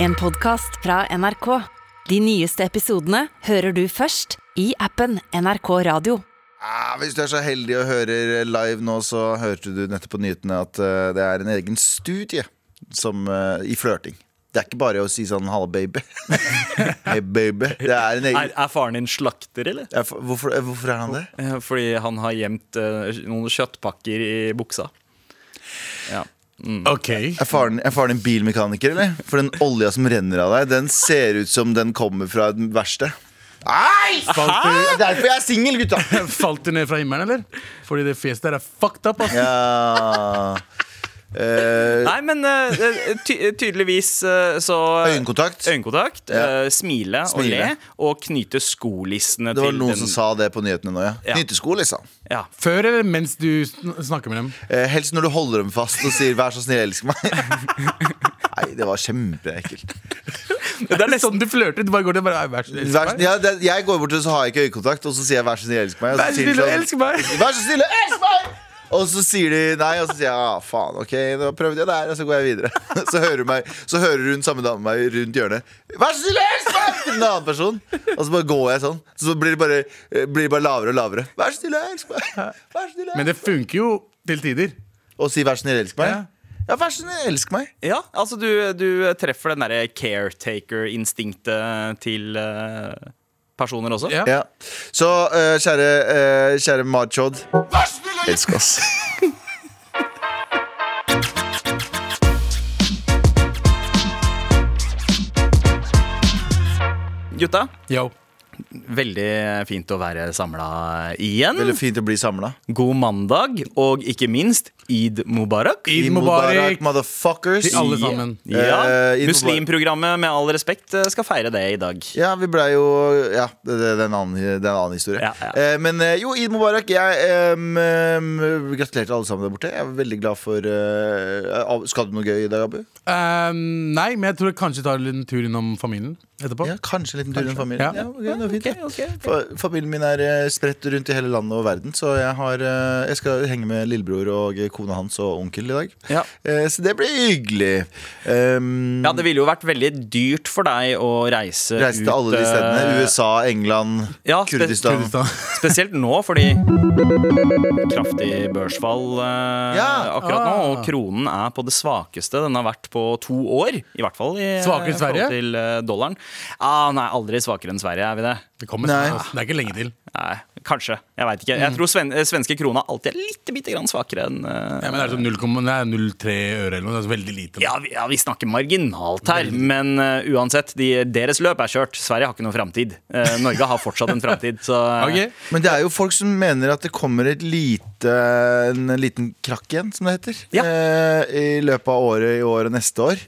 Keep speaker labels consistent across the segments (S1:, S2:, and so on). S1: En podcast fra NRK. De nyeste episodene hører du først i appen NRK Radio.
S2: Ah, hvis du er så heldig og hører live nå, så hørte du nettopp på nyhetene at eh, det er en egen studie som, eh, i flørting. Det er ikke bare å si sånn 'halla, baby'. Hei, baby. Det er en
S3: Er,
S2: egen
S3: er faren din slakter, eller?
S2: Ja, for- hvorfor, eh, hvorfor er han det?
S3: Eh, Fordi han har gjemt eh, noen kjøttpakker i buksa. Ja.
S4: Ok
S2: Er faren, er faren din bilmekaniker, eller? For den olja som renner av deg, den ser ut som den kommer fra et verksted. Nei! Det er derfor jeg er singel, gutta!
S4: Falt du ned fra himmelen, eller? Fordi det fjeset der er fucked up, ass
S2: Ja. Eh,
S3: Nei, men eh, eh, ty tydeligvis eh, så
S2: øyekontakt.
S3: Øyekontakt,
S2: Ja.
S3: eh, smile, og
S2: Smile.
S3: le, og knyte skolissene
S2: Det var
S3: til
S2: noen
S3: den-
S2: som sa det på nyhetene nå, ja.
S3: Ja.
S2: Knyttesko, liksom.
S3: ja.
S4: Før eller mens du sn snakker med dem?
S2: Eh, helst når du holder dem fast og sier 'vær så snill, elsk meg'. Nei, det var kjempeekkelt.
S3: Det er nesten
S4: Sånn du flørter, du bare går til og bare «Vær så snill,
S2: Vær-
S4: elsk meg».
S2: Ja, det- jeg går bort og så har jeg ikke øyekontakt, og så sier jeg 'vær så snill, elsk meg'. Og
S4: Vær
S2: så
S4: så
S2: sier de
S4: snill,
S2: sånn,
S4: elsk meg!
S2: Vær så snill, elsk meg! Og så sier de nei, og så sier jeg ah, faen, ok, nå prøvde jeg der, og så går jeg videre. Så hører, hun meg, så hører hun samme dame meg rundt hjørnet. Vær så snill, elsk meg! Til en annen person. Og så bare går jeg sånn. Så blir det bare, eh, blir det bare lavere og lavere. Vær så snill, elsk meg! Vær så snill, elsk meg.
S4: Men det funker jo til tider
S2: Og sier vær så snill, elsk meg. Ja, vær så snill, elsk meg.
S3: Ja, altså du, du treffer den derre caretaker-instinktet til eh, personer også.
S4: Ja.
S2: Ja. Så eh, kjære, uh, kjære Machod Elsk oss.
S3: Gutta,
S4: Yo
S3: veldig fint å være samla igjen.
S2: Veldig fint å bli samla.
S3: God mandag, og ikke minst Eid mubarak.
S4: Eid Mubarak
S2: motherfuckers.
S4: Til alle sammen
S3: Ja,
S2: Eh, Eid mubarak.
S3: Muslimprogrammet, med all respekt, eh, skal feire det i dag.
S2: Ja, vi blei jo Ja, det, det, det er en annen, det er en annen historie.
S3: Ja, ja.
S2: Eh, men eh, jo, Eid Mubarak. Jeg um, gratulerer til alle sammen der borte. Jeg er veldig glad for eh, av- Skal du noe gøy i dag, Abu?
S4: Ehm, Nei, men jeg tror jeg kanskje tar en liten tur innom familien etterpå
S2: Ja, Kanskje en liten tur med familien. Ja.
S4: Ja.
S2: ok, det var fint, ja. Fa- Familien min er eh, spredt rundt i hele landet og verden, så jeg, har, eh, jeg skal henge med lillebror og kona hans og onkel i dag.
S3: Ja.
S2: Eh, Så det blir hyggelig. Um,
S3: Ja, Det ville jo vært veldig dyrt for deg å reise,
S2: Reise til alle de
S3: eh,
S2: stedene. USA, England,
S3: Ja, spe-
S2: Kurdistan.
S4: Kurdistan.
S3: Spesielt nå, fordi kraftig børsfall eh,
S2: Ja.
S3: akkurat nå.
S4: Ah.
S3: Og kronen er på det svakeste den har vært på to år. I hvert fall i eh,
S4: Svakere
S3: forhold
S4: enn Sverige?
S3: til eh, dollaren. Ah, nei, aldri svakere enn Sverige, er vi det?
S4: Det kommer
S2: Nei.
S4: snart, ass. det er ikke lenge til
S3: Nei, kanskje. Jeg veit ikke. Jeg
S2: Mm.
S3: tror sven eh, svenske krona alltid er litt bitte grann svakere enn eh,
S4: Ja, men det er sånn 0,0 nei, 0,3 øre eller noe, det er så veldig lite
S3: ja, vi, ja, vi snakker marginalt her, men eh, uansett. De, deres løp er kjørt. Sverige har ikke noen framtid. Eh, Norge har fortsatt en framtid, så eh,
S4: Ok.
S2: Men det er jo folk som mener at det kommer et lite, en liten krakk igjen, som det heter.
S3: Ja.
S2: Eh, I løpet av året i år og neste år.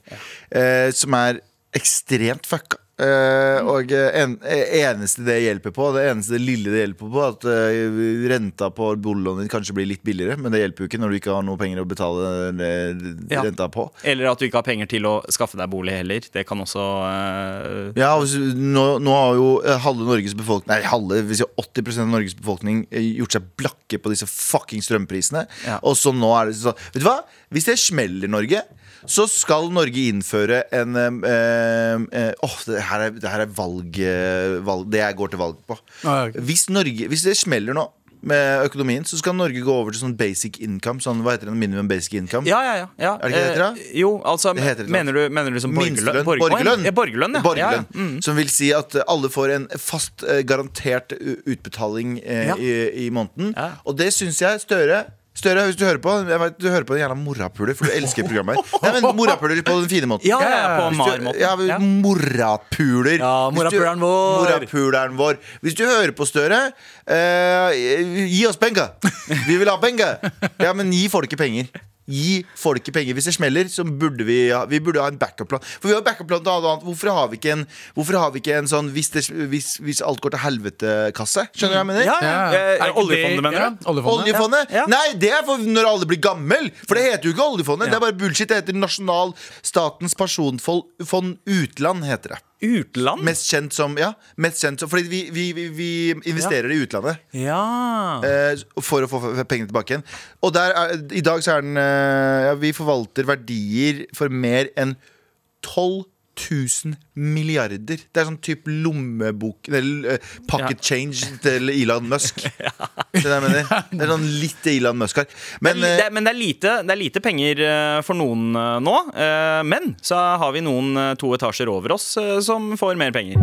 S2: Eh, som er ekstremt fucka.
S3: Mm.
S2: Eh, og eh, en, eh, eneste det hjelper på, det eneste lille det hjelper på, er at eh, renta på boliglånet ditt kanskje blir litt billigere, men det hjelper jo ikke når du ikke har noe penger å betale eh,
S3: Ja.
S2: renta på.
S3: Eller at du ikke har penger til å skaffe deg bolig heller. Det kan også eh,
S2: Ja, og hvis- nå, nå har jo eh, halve Norges befolkning Nei, halve, hvis jeg 80 av Norges befolkning eh, gjort seg blakke på disse fucking strømprisene.
S3: Ja.
S2: Og så nå er det sånn Vet du hva? Hvis det smeller Norge, så skal Norge innføre en em, em, eh, Åh, det her er, det her er valg, eh, valg Det jeg går til valg på.
S4: Ah, ja, ok.
S2: Hvis, Norge, hvis det smeller nå med økonomien, så skal Norge gå over til sånn basic income. Sånn, hva heter det? Minimum basic income?
S3: Ja, ja, ja. ja.
S2: Er det ikke det det heter, da?
S3: Eh, Jo, altså,
S2: Det heter det,
S3: mener, du, mener du som borgerlønn?
S2: Minstelønn. Borgerlønn.
S3: Ja, borgerlønn, ja.
S2: Borgerlønn.
S3: Ja, ja. Mm.
S2: Som vil si at eh, alle får en fast, eh, garantert eh, utbetaling eh,
S3: Ja.
S2: i, i måneden.
S3: Ja.
S2: Og det syns jeg Støre Støre, hvis du hører på Jeg vet, du hører på den jævla morapuler, for du elsker programmet her. Nei, men morapuler på den fine måten.
S3: Ja, ja, ja, på
S2: Hvis du-
S3: MAR-måten.
S2: Ja,
S3: Ja.
S2: morapuler.
S3: Ja,
S2: Hvis du-
S3: morapuleren vår.
S2: Morapuleren vår. Hvis du hører på Støre, eh, gi oss penger. Vi vil ha penger. Ja, men gi folket penger. Gi folket penger. Hvis det smeller, så burde vi ha, vi burde ha en backup-plan. For vi har backup-plan til alt annet. Hvorfor har vi ikke en, hvorfor har vi ikke en sånn hvis, det, hvis, hvis alt går til helvete-kasse? Skjønner du hva jeg mener?
S3: Ja, ja. Eh,
S4: Er ikke
S3: oljefondet,
S4: det-
S3: mener du?
S4: Ja, oljefondet.
S2: Oljefondet?
S3: Ja.
S2: Nei, det er for når alle blir gammel For det heter jo ikke oljefondet. Det er bare bullshit. Det heter Nasjonal Statens pensjonsfond fond utland, heter det.
S3: Utland?
S2: Mest kjent som Ja, mest kjent som fordi vi, vi, vi, vi investerer i utlandet.
S3: Ja.
S2: eh, For å få f- pengene tilbake igjen. Og der er, i dag så er den eh, ja, Vi forvalter verdier for mer enn 12 1000 milliarder. Det er sånn type lommebok Eller eh, pocket change til Elon Musk. Skjønner du hva jeg mener? Det er sånn litt det Elon Musk har. Men
S3: det,
S2: eh,
S3: er- men det, er lite, det er lite penger eh, for noen eh, nå. eh, Men så har vi noen eh, to etasjer over oss eh, som får mer penger.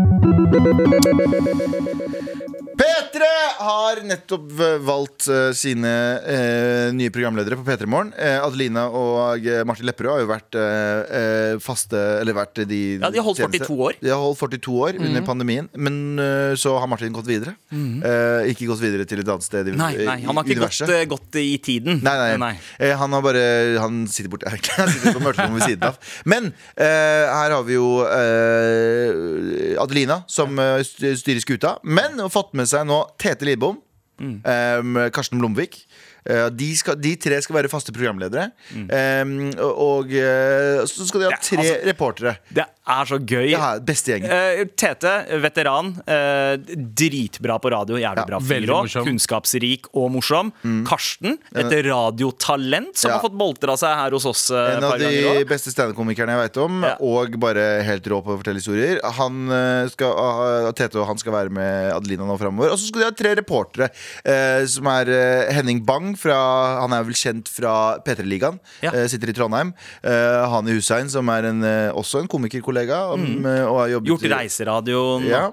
S2: P3 har nettopp eh, valgt eh, sine eh, nye programledere på P3 Morgen. Eh, Adelina og eh, Martin Lepperød har jo vært eh, eh, faste Eller vært de
S3: Ja, de har holdt 42 år. Mhm.
S2: De har holdt 42 år under pandemien, men eh, så har Martin gått videre. Eh, ikke gått videre til et annet sted i
S3: Nei, nei, han
S2: i
S3: har ikke gått,
S2: universet.
S3: eh, gått i tiden.
S2: Nei, nei. Eh, han har bare Han sitter borti her. Han sitter på mørkerommet ved siden av. Men eh, her har vi jo eh, Adelina, som eh, st- styrer skuta. Men har fått med seg nå Tete Lidbom, eh, Karsten Blomvik. Eh, de, skal, de tre skal være faste programledere. Eh, og eh, så skal de ha
S3: Ja,
S2: tre
S3: altså-
S2: reportere.
S3: Det er så gøy.
S2: Ja, beste gjengen.
S3: Eh, Tete, veteran. eh, dritbra på radio. Jævlig bra fyr
S4: veldig
S3: òg.
S4: morsom.
S3: Kunnskapsrik og morsom. Karsten, et radiotalent som
S2: Ja.
S3: har fått boltra seg her hos oss eh, et
S2: En av
S3: par ganger
S2: de
S3: òg.
S2: beste standup-komikerne jeg veit om.
S3: Ja.
S2: Og bare helt rå på å fortelle historier. Han eh, skal, ah, Tete og han skal være med Adelina nå framover. Og så skal de ha tre reportere, eh, som er eh, Henning Bang. Fra, han er vel kjent fra P3-ligaen.
S3: Ja.
S2: eh, sitter i Trondheim. Eh, Hani Hussein, som er en, eh, også en komikerkollega. om,
S3: Mm.
S2: eh, Og har jobbet
S3: Gjort reiseradioen.
S2: ja.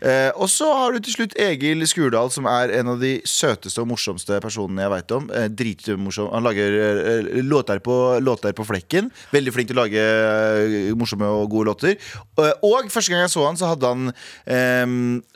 S2: eh, Og så har du til slutt Egil Skurdal, som er en av de søteste og morsomste personene jeg veit om. Eh, Dritmorsom. Han lager eh, låter, på, låter på flekken. Veldig flink til å lage eh, morsomme og gode låter. Eh, og første gang jeg så han, så hadde han eh,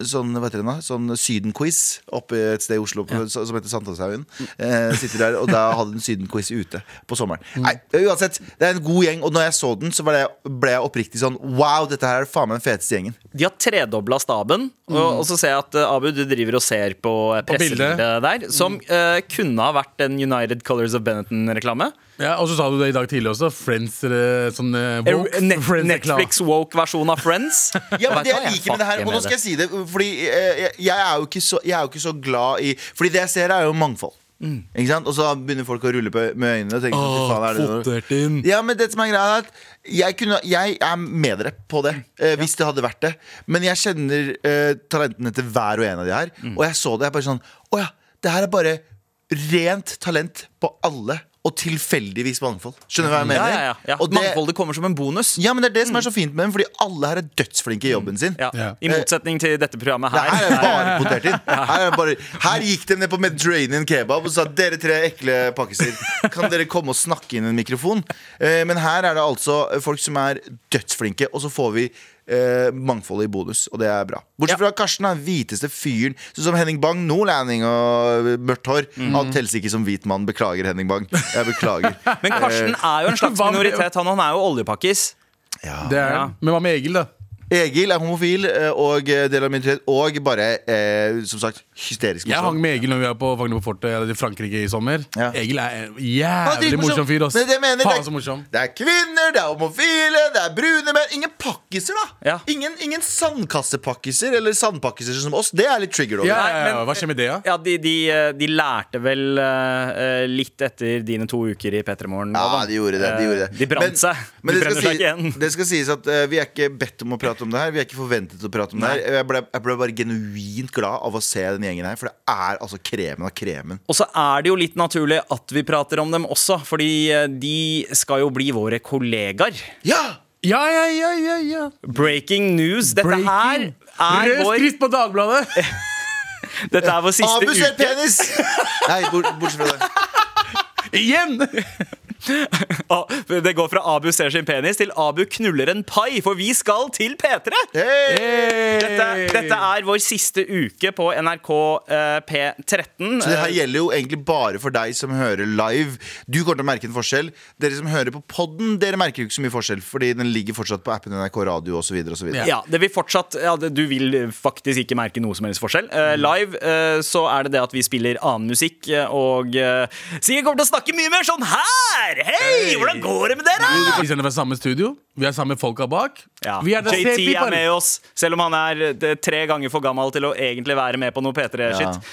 S2: sånn, hva heter det nå? Sånn Syden-quiz oppe et sted i Oslo på, som heter Sankthanshaugen. Eh, sitter der, og da hadde han Syden-quiz ute på sommeren. Nei, uansett, det er en god gjeng, og når jeg så den, så ble jeg, ble jeg oppriktig sånn Wow, dette her er faen meg den feteste gjengen.
S3: De har tredobla staben,
S2: Mm.
S3: og, og så ser jeg at eh, Abu du driver og ser på eh,
S4: bildet.
S3: pressebildet der, som
S2: Mm.
S3: eh, kunne ha vært en United Colors of Benetton-reklame.
S4: Ja, og så sa du det i dag tidlig også. Friends eh, sånn eh, woke,
S3: Eh, Net
S4: Friends-reklame.
S3: Netflix woke-versjon av Friends.
S2: Ja, men
S3: Vet
S2: det
S3: du hva?
S2: jeg liker med det her
S3: fucker
S2: Og nå skal jeg si det, fordi eh, jeg, jeg, er jo ikke så, jeg er jo ikke så glad i Fordi det jeg ser er jo mangfold
S3: Mm.
S2: Ikke sant? Og så begynner folk å rulle på, med øynene og tenker sånn,
S4: Åh,
S2: "Fy faen, er det noe?"
S4: kvotert inn.
S2: Ja, men det som er greia er at jeg, kunne, jeg er med dere på det, eh, hvis det hadde vært det. Men jeg kjenner eh, talentene til hver og en av de her.
S3: Mm.
S2: Og jeg så det. Jeg bare sånn Å ja, det her er bare rent talent på alle. Og tilfeldigvis mangfold. Skjønner du hva jeg
S3: Mm. Ja,
S2: mener?
S3: ja, ja. ja.
S2: Og det,
S3: Mangfoldet kommer som en bonus.
S2: ja, men det er det som er så fint med dem, fordi alle her er dødsflinke i jobben sin.
S3: Ja.
S4: Ja.
S3: I motsetning til dette programmet
S2: Her er det
S3: her.
S2: bare potert inn. Her, er det bare, her gikk de ned på Mediterranean kebab og sa dere tre ekle pakkiser, kan dere komme og snakke inn i en mikrofon? Eh, men her er det altså folk som er dødsflinke, og så får vi eh, mangfoldet i bonus, og det er bra. Bortsett fra Karsten, er den hviteste fyren. Sånn som Henning Bang, nordlending og mørkt hår. Han telles ikke som hvit mann. Beklager, Henning Bang. Jeg beklager.
S3: Men Karsten
S2: Eh,
S3: er jo en slags
S4: Hva med-
S3: minoritet. Han, han er jo oljepakkis.
S2: Ja.
S4: Det er,
S3: Ja.
S4: Men hva med Egil, da?
S2: Egil er homofil eh, og eh, del av minoritet, og bare, eh, som sagt, hysterisk
S4: Jeg hang
S2: morsom.
S4: med Egil når vi var på Fagner på Fortet eller i Frankrike i sommer.
S2: Ja.
S4: Egil er en
S2: Han er
S4: jævlig
S2: dritmorsom.
S4: morsom fyr. ass.
S2: Men det mener jeg-
S4: Faen så morsom.
S2: Det er kvinner, det er homofile, det er brune menn. Ingen pakkiser, da!
S3: Ja.
S2: Ingen, ingen sandkassepakkiser eller sandpakkiser som oss. Det er litt trigger over.
S4: Ja,
S3: Nei,
S4: ja, ja,
S3: men-
S4: hva skjer med det, da?
S3: Ja, de, de, eh, de lærte vel eh, eh, litt etter dine to uker i P3 Morgen.
S2: Ja, de gjorde det. De, gjorde det.
S3: Eh, de brant seg. De
S2: Men det,
S3: brenner
S2: skal
S3: seg ikke igjen.
S2: det skal sies at eh, vi er ikke bedt om å prate om det her. Vi er ikke forventet å prate om det her. Jeg ble, jeg ble bare genuint glad av å se den gjengen her, for det er altså kremen av kremen.
S3: Og så er det jo litt naturlig at vi prater om dem også, fordi eh, de skal jo bli våre kollegaer.
S2: Ja!
S4: Ja, ja, ja, ja, ja.
S3: Breaking news. Dette
S4: Breaking.
S3: her er
S4: Rød
S3: vår,
S4: skrift på Dagbladet!
S3: dette er vår siste
S2: Abu ser
S3: uke.
S2: penis! Nei, bort, bortsett fra det.
S4: Igjen!
S3: Ah, Det går fra Abu ser sin penis til Abu knuller en pai, for vi skal til P3!
S2: Hey!
S3: Dette, dette er vår siste uke på NRK eh, P13.
S2: Så det her gjelder jo egentlig bare for deg som hører live. Du kommer til å merke en forskjell. Dere som hører på podden, dere merker jo ikke så mye forskjell, fordi den ligger fortsatt på appen NRK Radio osv.
S4: Ja.
S3: Ja, det vil fortsatt ja, det, Du vil faktisk ikke merke noe som helst forskjell. Eh, live eh, så er det det at vi spiller annen musikk, eh, og eh, Sigurd kommer til å snakke mye mer sånn her! Hei, hvordan går det med dere?
S4: Vi sender fra samme studio. Vi er samme folka bak.
S3: Ja.
S4: Vi er der
S3: JT
S4: CP
S3: er
S4: bare.
S3: med oss, selv om han er eh, tre ganger for gammel til å egentlig være med på noe P3-shit.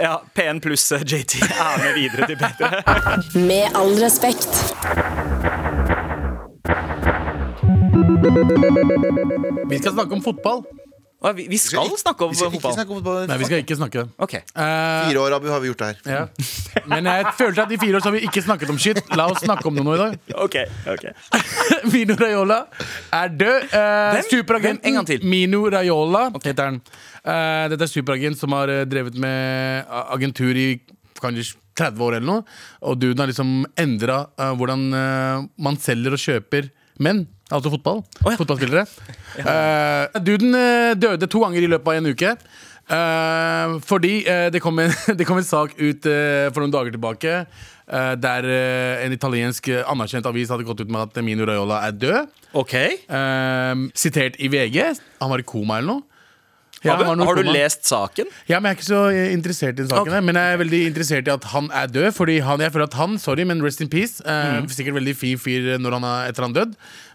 S3: Ja. P1 pluss eh, JT er med videre til P3.
S5: Med all respekt.
S4: Vi skal snakke om fotball.
S3: Å, Vi, vi skal snakke om
S2: Vi skal ikke
S3: fotball.
S2: snakke om fotball.
S4: Nei, vi skal ikke snakke.
S3: Ok.
S4: Eh,
S2: Fire år, Abu, har vi gjort det her.
S4: ja. Men jeg føler at i fire år så har vi ikke snakket om shit. La oss snakke om det nå i dag.
S3: ok, ok
S4: Mino Raiola er død. Eh,
S3: Hvem?
S4: superagenten
S3: Hvem? En gang til.
S4: Mino Raiola heter han. Eh, dette er superagent som har eh, drevet med eh, agentur i kanskje 30 år eller noe. Og duden har liksom endra eh, hvordan eh, man selger og kjøper menn. Altså fotball.
S3: ja.
S4: Fotballspillere. Eh, duden eh, døde to ganger i løpet av en uke. Eh, fordi eh, det, kom en, det kom en sak ut eh, for noen dager tilbake eh, der eh, en italiensk eh, anerkjent avis hadde gått ut med at Mino Raiola er død.
S3: Ok
S4: Eh, sitert i VG. Han var i koma eller noe. Ja,
S3: Abu,
S4: han var noe i
S3: har du
S4: koma.
S3: lest saken?
S4: Ja, men Jeg er ikke så eh, interessert i den saken,
S3: Ok.
S4: her, men jeg er veldig interessert i at han er død. Fordi han, jeg føler at han, sorry, men rest in peace. eh,
S3: Mhm.
S4: Sikkert veldig fin fyr eh, når han er etter han død.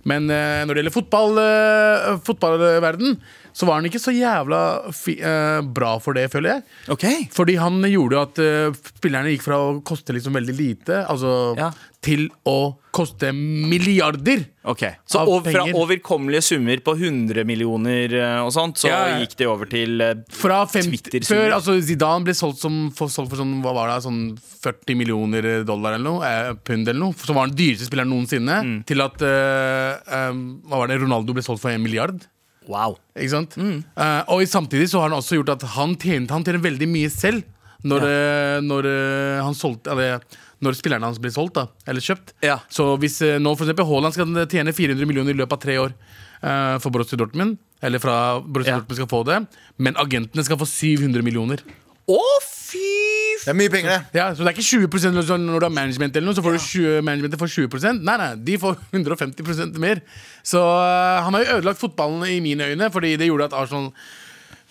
S4: Men eh, når det gjelder fotball, eh, fotballverden, så var han ikke så jævla fi, eh, bra for det, føler jeg.
S3: Ok
S4: Fordi han gjorde jo at eh, spillerne gikk fra å koste liksom veldig lite Altså
S3: Ja.
S4: til å koste milliarder.
S3: Ok, Så
S4: Av
S3: over, fra
S4: penger.
S3: overkommelige summer på 100 millioner eh, og sånt, så
S4: Ja, ja.
S3: gikk de over til eh,
S4: Fra 50,
S3: Twitter-summer.
S4: før, altså Zidane ble solgt, som, for, solgt for sånn, hva var det, sånn 40 millioner dollar eller noe, eh, pund eller noe, som var den dyreste spilleren noensinne, til at eh, eh, hva var det, Ronaldo ble solgt for en milliard.
S3: Wow.
S4: Ikke sant?
S3: Mm.
S4: Eh, og i samtidig så har han også gjort at han tjente, han tjener veldig mye selv når, eh, når eh, han solgte eller, når spillerne hans blir solgt, da, eller kjøpt.
S3: Ja.
S4: Så hvis eh, nå for eksempel Haaland skal tjene 400 millioner i løpet av tre år eh, for Borussia Dortmund, eller fra Borussia
S3: Ja.
S4: Dortmund skal få det, men agentene skal få 700 millioner.
S3: Å, fy f...
S2: Det er mye penger, det.
S4: Ja, Så det er ikke 20 når sånn når du har management, eller noe, så får du 20, managementet får 20 Nei, nei, de får 150 mer. Så øh, han har jo ødelagt fotballen i mine øyne, fordi det gjorde at Arsenal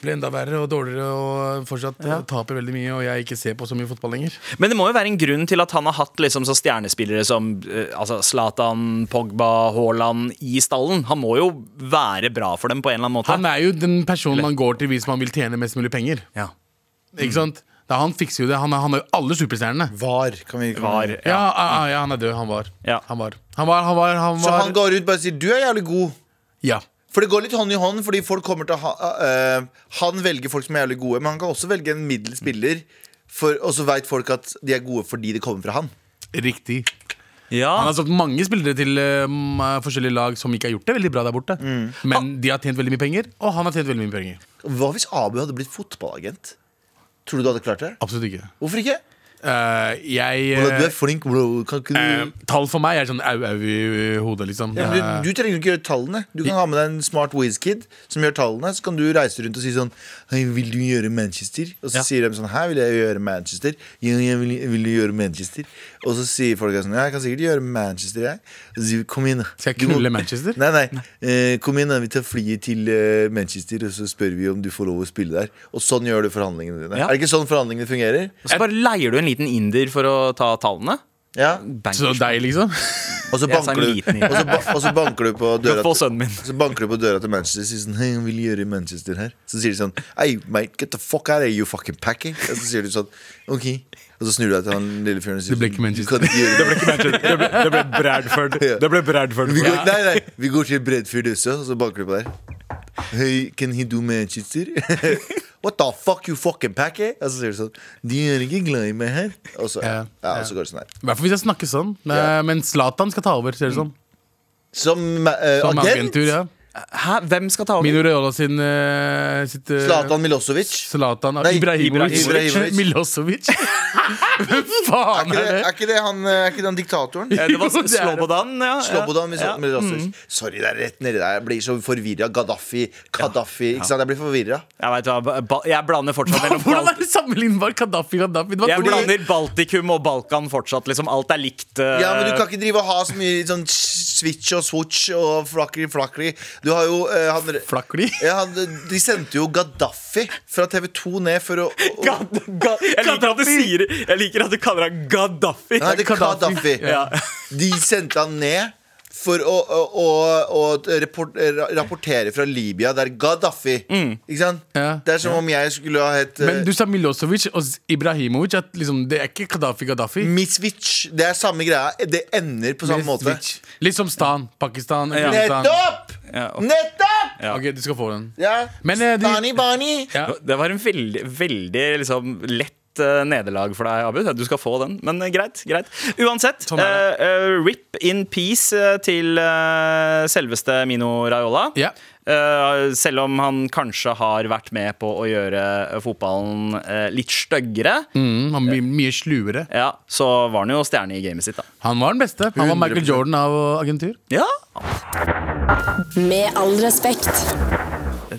S4: ble enda verre og dårligere og fortsatt øh, taper veldig mye, og jeg ikke ser på så mye fotball lenger.
S3: Men det må jo være en grunn til at han har hatt liksom så stjernespillere som eh, altså Zlatan, Pogba, Haaland i stallen. Han må jo være bra for dem på en eller annen måte.
S4: Han er jo den personen man går til hvis man vil tjene mest mulig penger.
S3: ja.
S4: Ikke sant? Da, han fikser jo det. Han, er- han har jo alle superstjernene.
S2: Var, kan vi
S3: Var,
S4: Ja,
S3: ja.
S4: ah, ah, ja, han er død. Han var.
S3: Ja.
S4: Han var. Han var, han var, han
S2: Så
S4: var.
S2: han går ut bare og sier 'du er jævlig god'.
S4: Ja.
S2: For det går litt hånd i hånd, fordi folk kommer til å ha, eh, Han velger folk som er jævlig gode, men han kan også velge en middels spiller. For, og så veit folk at de er gode fordi det kommer fra han.
S4: Riktig.
S3: ja.
S2: Ah.
S4: Han har solgt mange spillere til um, forskjellige lag som ikke har gjort det veldig bra der borte.
S2: Mm.
S4: Men de har tjent veldig mye penger, og han har tjent veldig mye penger.
S2: Hva hvis Abu hadde blitt fotballagent? Tror du du hadde klart det?
S4: Absolutt ikke.
S2: Hvorfor ikke?
S4: Eh, jeg
S2: Ola, du er
S4: eh,
S2: flink, bro. Kan ikke
S4: eh,
S2: du
S4: Tall for meg er sånn au-au i i hodet, liksom.
S2: ja, men
S4: Eh,
S2: du, du trenger jo ikke gjøre tallene. Du kan ha med deg en smart whiz-kid som gjør tallene. Så kan du reise rundt og si sånn Hei, vil du gjøre Manchester? Og så
S3: Ja.
S2: sier de sånn Hæ, vil jeg gjøre Manchester? Ja, jeg vil, vil du gjøre Manchester? Og så sier folk sånn Ja, jeg kan sikkert gjøre Manchester, jeg. Og så sier vi Kom inn, da.
S4: Skal jeg
S2: Du må-
S4: knulle Manchester?
S2: Nei, nei. Eh, kom inn, da. Vi tar flyet til eh, Manchester, og så spør vi om du får lov å spille der. Og sånn gjør du forhandlingene dine.
S3: Ja.
S2: Er det ikke sånn forhandlingene fungerer?
S3: Og så bare leier du en liten inder for å ta tallene.
S2: Ja.
S4: Så
S3: Bankers.
S4: deg, liksom?
S2: Og så
S3: Jeg sa en
S2: banker du,
S3: liten idé.
S2: og så, ba- og så banker du på døra
S3: Få sønnen min.
S2: Så banker du på døra til Manchester og sier sånn Hei, hva vil du gjøre i Manchester her? Så sier de sånn Hey, mate, get the fuck out of here, you fucking packing Og så sier du sånn Ok Og så snur du deg til han lille fyren og sier
S4: Det ble
S2: sånn,
S4: ikke Manchester.
S2: «Du kan ikke gjøre Det
S5: Det ble, det ble Bradford.
S2: Ja.
S5: Det ble Bradford.
S2: vi går, Nei, nei, vi går til Bredfjord også Og så banker du på der Hey, can he do Manchester? What the fuck, you fucking packing Og så sier du sånn De er ikke glad i meg her Og så, ja,
S4: Ja,
S2: og så går det sånn her
S4: I hvert fall hvis jeg snakker sånn. Eh,
S2: Ja.
S4: Men Zlatan skal ta over, ser det sånn.
S2: Som eh,
S4: Som
S2: agent
S4: agentur, ja.
S3: Hæ? Hvem skal ta over?
S4: Mino Raiola sin eh, sitt eh,
S2: Zlatan Milosevic
S4: Zlatan
S2: Nei,
S4: Ibrahimovic.
S2: Ibrahimovic.
S4: Milosevic. Hvem
S2: Er
S4: faen
S2: ikke
S4: er
S2: det,
S4: det?
S2: er ikke det han, eh, er ikke det han diktatoren?
S3: Eh, Det var
S4: Jo, det er det.
S3: Slobodan, ja.
S2: Slobodan med,
S3: Ja.
S2: med Rasmus. Sorry, det er rett nedi der. Jeg blir så forvirra. Gaddafi, Kadafi. Ikke sant? Jeg blir forvirra.
S3: Jeg, vet, hva, ba- jeg blander fortsatt mellom
S4: Hvordan er
S3: Bal
S4: det sammenlignbar Kadafi Gaddafi? Det var
S3: Jeg
S4: fordi-
S3: blander Baltikum og Balkan fortsatt. Liksom alt er likt. eh,
S2: Ja, men Du kan ikke drive og ha så mye sånn switch og switch og flakri flakri. Du har jo eh, han,
S4: Flakli?
S2: ja, han, De sendte jo Gaddafi fra TV2 ned for å, å
S3: Gad- Ga- jeg, liker at du sier, jeg liker at du kaller han Gaddafi.
S2: Nei, det er Gaddafi.
S3: Ja.
S2: De sendte han ned for å, å, å, å report, ra- rapportere fra Libya. Det er Gaddafi. Ikke sant?
S4: Mm. Ja.
S2: Det er som om jeg skulle ha hett eh,
S4: Men du sa Milosevic og Ibrahimovic. At liksom, det er ikke Kadafi Gaddafi.
S2: eh, Miswitch. Det er samme greia. Det ender på samme måte.
S4: Milosevic. Litt som Stan. Pakistan.
S3: Ja.
S4: Afghanistan.
S2: Nettopp!
S3: Ja, ok.
S2: Nettopp!
S3: Ja.
S4: Ok, du skal få den.
S2: Ja.
S4: Men, eh, de-
S2: Stani Bani.
S4: Ja.
S3: Det var en veldig, veldig liksom, lett eh, nederlag for deg, Abu. Du skal få den, men eh, greit. greit Uansett,
S4: Sånn er
S3: eh, eh, rip in peace eh, til eh, selveste Mino Raiola.
S4: Ja.
S3: Eh, selv om han kanskje har vært med på å gjøre eh, fotballen eh, litt styggere,
S4: Mm, han blir mye sluere.
S3: ja, så var han jo stjerne i gamet sitt, da.
S4: Han var den beste. Han var Michael
S2: 100%.
S4: Jordan av agentur.
S3: Ja,
S6: Med all respekt.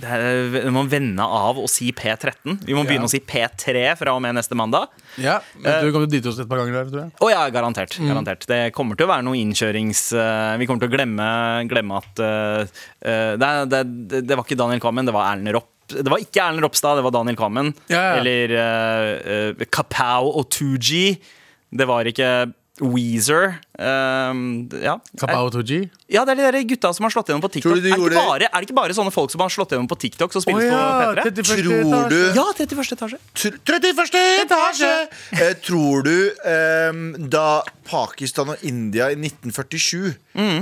S3: det er, eh, Vi må vende av å si P13. Vi må
S4: Ja.
S3: begynne å si P3 fra og med neste mandag.
S4: Ja,
S2: Eh.
S4: men du kommer til å drite oss et par ganger der, tror jeg.
S3: Å ja, garantert.
S2: Mm.
S3: garantert. Det kommer til å være noe innkjørings... eh, vi kommer til å glemme, glemme at eh, eh, det, er- det, det, det var ikke Daniel Kvammen, det var Erlend Ropp. Det var ikke Erlend Ropstad, det var Daniel Kvammen.
S4: Ja, ja.
S3: Eller eh, eh, Kapow og 2G. Det var ikke Weezer. Eh, ja.
S4: Kapao Toji.
S3: ja, det er de der gutta som har slått gjennom på TikTok.
S2: Tror du
S3: Er
S2: de
S3: det, ikke
S2: gjorde det?
S3: bare, er det ikke bare sånne folk som har slått gjennom på TikTok, som spilles på P3?
S2: Tror du
S3: Ja, 31. etasje.
S2: Tr- 31. etasje! Eh, tror du ehm, da Pakistan og India i 1947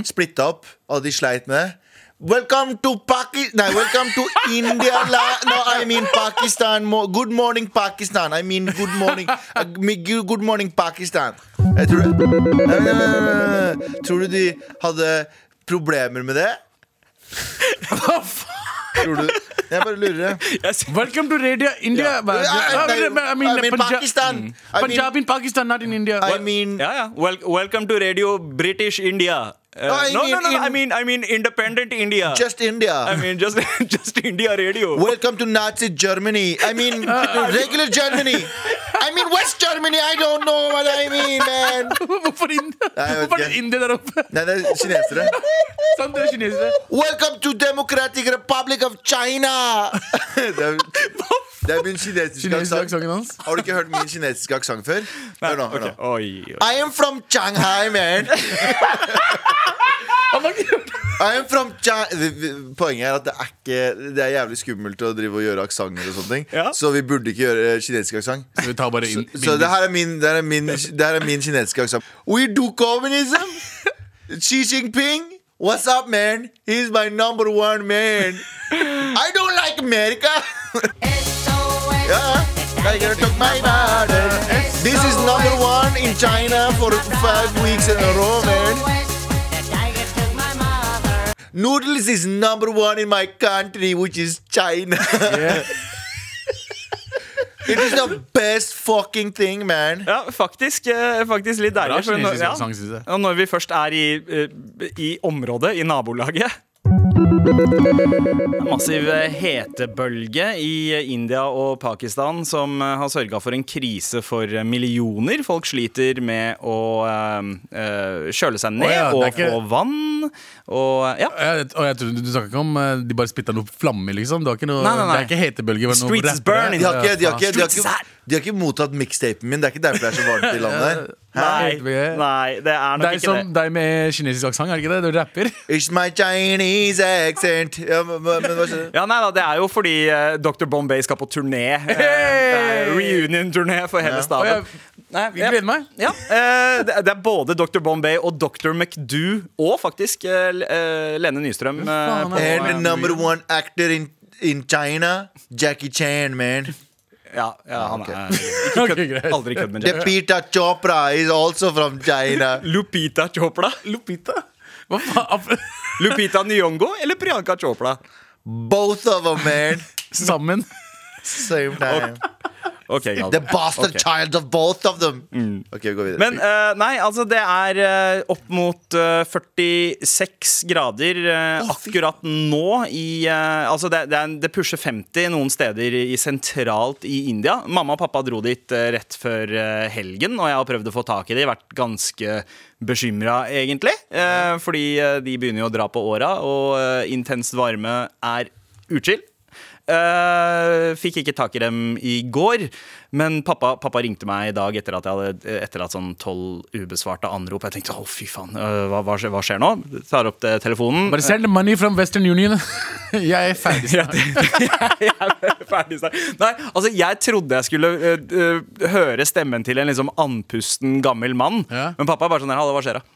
S2: splitta opp, og de sleit med det Welcome to Paki... Nei, welcome to India la No, I mean Pakistan. Mo good morning, Pakistan. I mean good morning uh, me- Good morning, Pakistan. Jeg tror, Nei, nei, nei, nei, nei. tror du de hadde problemer med det? Tror du Jeg bare lurer.
S4: Welcome to Radio India. But-
S2: I,
S4: I mean, I mean, Punja-
S2: Pakistan. I mean,
S4: Punjab in Pakistan, not in India.
S2: I mean
S3: Ja, ja. Wel welcome to Radio British India. Eh,
S2: I
S3: no,
S2: mean
S3: no, no, no,
S2: in-
S3: I mean, I mean independent India.
S2: just
S3: I
S2: India.
S3: mean just, just India radio.
S2: Welcome to Nazi Germany. I mean regular Germany. I mean West Germany. I don't know what I mean, man.
S4: Hvorfor India?
S2: jeg vet
S4: Hvorfor er det
S2: ikke.
S4: India der oppe?
S2: Nei, det er kinesere.
S3: Sånn,
S4: Sant, det er kinesere.
S2: Welcome to Democratic Republic of China. det, er, det er min kinesiske
S4: Kinesisk
S2: aksent.
S4: aksenten hans.
S2: Har du ikke hørt min kinesiske aksent før? Hør nå. hør nå.
S3: Ok, Oi, oi.
S2: I am from Shanghai, man.
S4: Han var ikke-
S2: I am from Cha- Poenget er at det er, ikke, det er jævlig skummelt å drive og gjøre aksenter og sånne ting.
S3: Ja.
S2: Så vi burde ikke gjøre kinesisk aksent.
S4: Vi tar bare
S2: Så,
S4: inn
S2: så det her er min, det her er min, det her er min kinesiske aksent. We do communism! Xi Jinping! What's up, man? He's my number one man. I don't like America! yeah. I gotta talk my mother. This is number one in China for five weeks in a row, man. Noodles is number one in my country, which is China. it is the best fucking thing, man.
S3: Ja, faktisk, eh, faktisk litt deilig. for når-
S4: kinesisk
S3: ja.
S4: aksent, synes jeg.
S3: Og når vi først er i, eh, i området, i nabolaget Massiv eh, hetebølge i India og Pakistan som eh, har sørga for en krise for eh, millioner. Folk sliter med å eh, eh, kjøle seg ned
S4: Å ja, det er
S3: og
S4: ikke-
S3: få vann. Og ja,
S4: Jeg, og jeg tror, du snakka ikke om eh, de bare spytta noe flamme, liksom? Det, var ikke noe,
S3: Nei, nei, nei.
S4: det er ikke hetebølge. men noe
S3: Streets is
S4: rappere.
S3: burning.
S2: De har ikke, de har
S4: Ja,
S2: ikke, de har
S3: Streets
S2: ikke, de har ikke mottatt mixtapen min. Det er ikke derfor det er så varmt i landet.
S3: nei,
S4: Hetebølge.
S3: nei, det er nok
S4: Deg,
S3: ikke
S4: som,
S3: det.
S4: deg med kinesisk aksent, er det ikke det? Du rapper?
S2: It's my Chinese accent. Ja, men, men, men hva skjer?
S3: Ja, nei da, Det er jo fordi eh, Dr. Bombay skal på turné. Eh, det er Reunion-turné for hele
S4: Og
S3: staben.
S4: jeg, jeg gleder meg.
S3: Ja, eh, det det er både Dr. Bombay og Dr. McDoo og faktisk eh, L- eh, Lene Nystrøm. eh,
S4: faen,
S3: på-
S4: er-
S2: And the number one actor in, in China, Jackie Chan, man.
S3: ja, ja, han er
S4: Ok, greit.
S3: aldri kødd med Jack.
S2: Pita Chopra is also from China.
S3: Lupita Chopla.
S4: Lupita? Hva faen? Af-
S3: Lupita Nyongo eller Priyanka Chopla?
S2: Both of them, man.
S4: Sammen.
S2: Same time.
S3: Ok, Galvan.
S2: The bastard
S3: Ok. Mm.
S2: child of both of them. Ok, vi går videre.
S3: Men eh, nei, altså det er eh, opp mot eh, 46 grader eh, akkurat nå i eh, Altså det, det, er, en- det pusher 50 noen steder i, sentralt i India. Mamma og pappa dro dit eh, rett før eh, helgen, og jeg har prøvd å få tak i dem. Vært ganske bekymra, egentlig. eh, fordi eh, de begynner jo å dra på åra, og eh, intens varme er utskill. Eh, fikk ikke tak i dem i går, men pappa, pappa ringte meg i dag etter at jeg hadde Etter at sånn tolv ubesvarte anrop. Jeg tenkte å, fy faen, eh, hva, hva, skjer, hva skjer nå? Tar opp det, telefonen.
S4: Bare send money from Western Union. jeg er ferdig snart.
S3: jeg er ferdig snart. Nei, altså jeg trodde jeg skulle eh, eh, høre stemmen til en liksom andpusten gammel mann.
S4: Ja.
S3: Men pappa er bare sånn her, hallo, hva skjer da?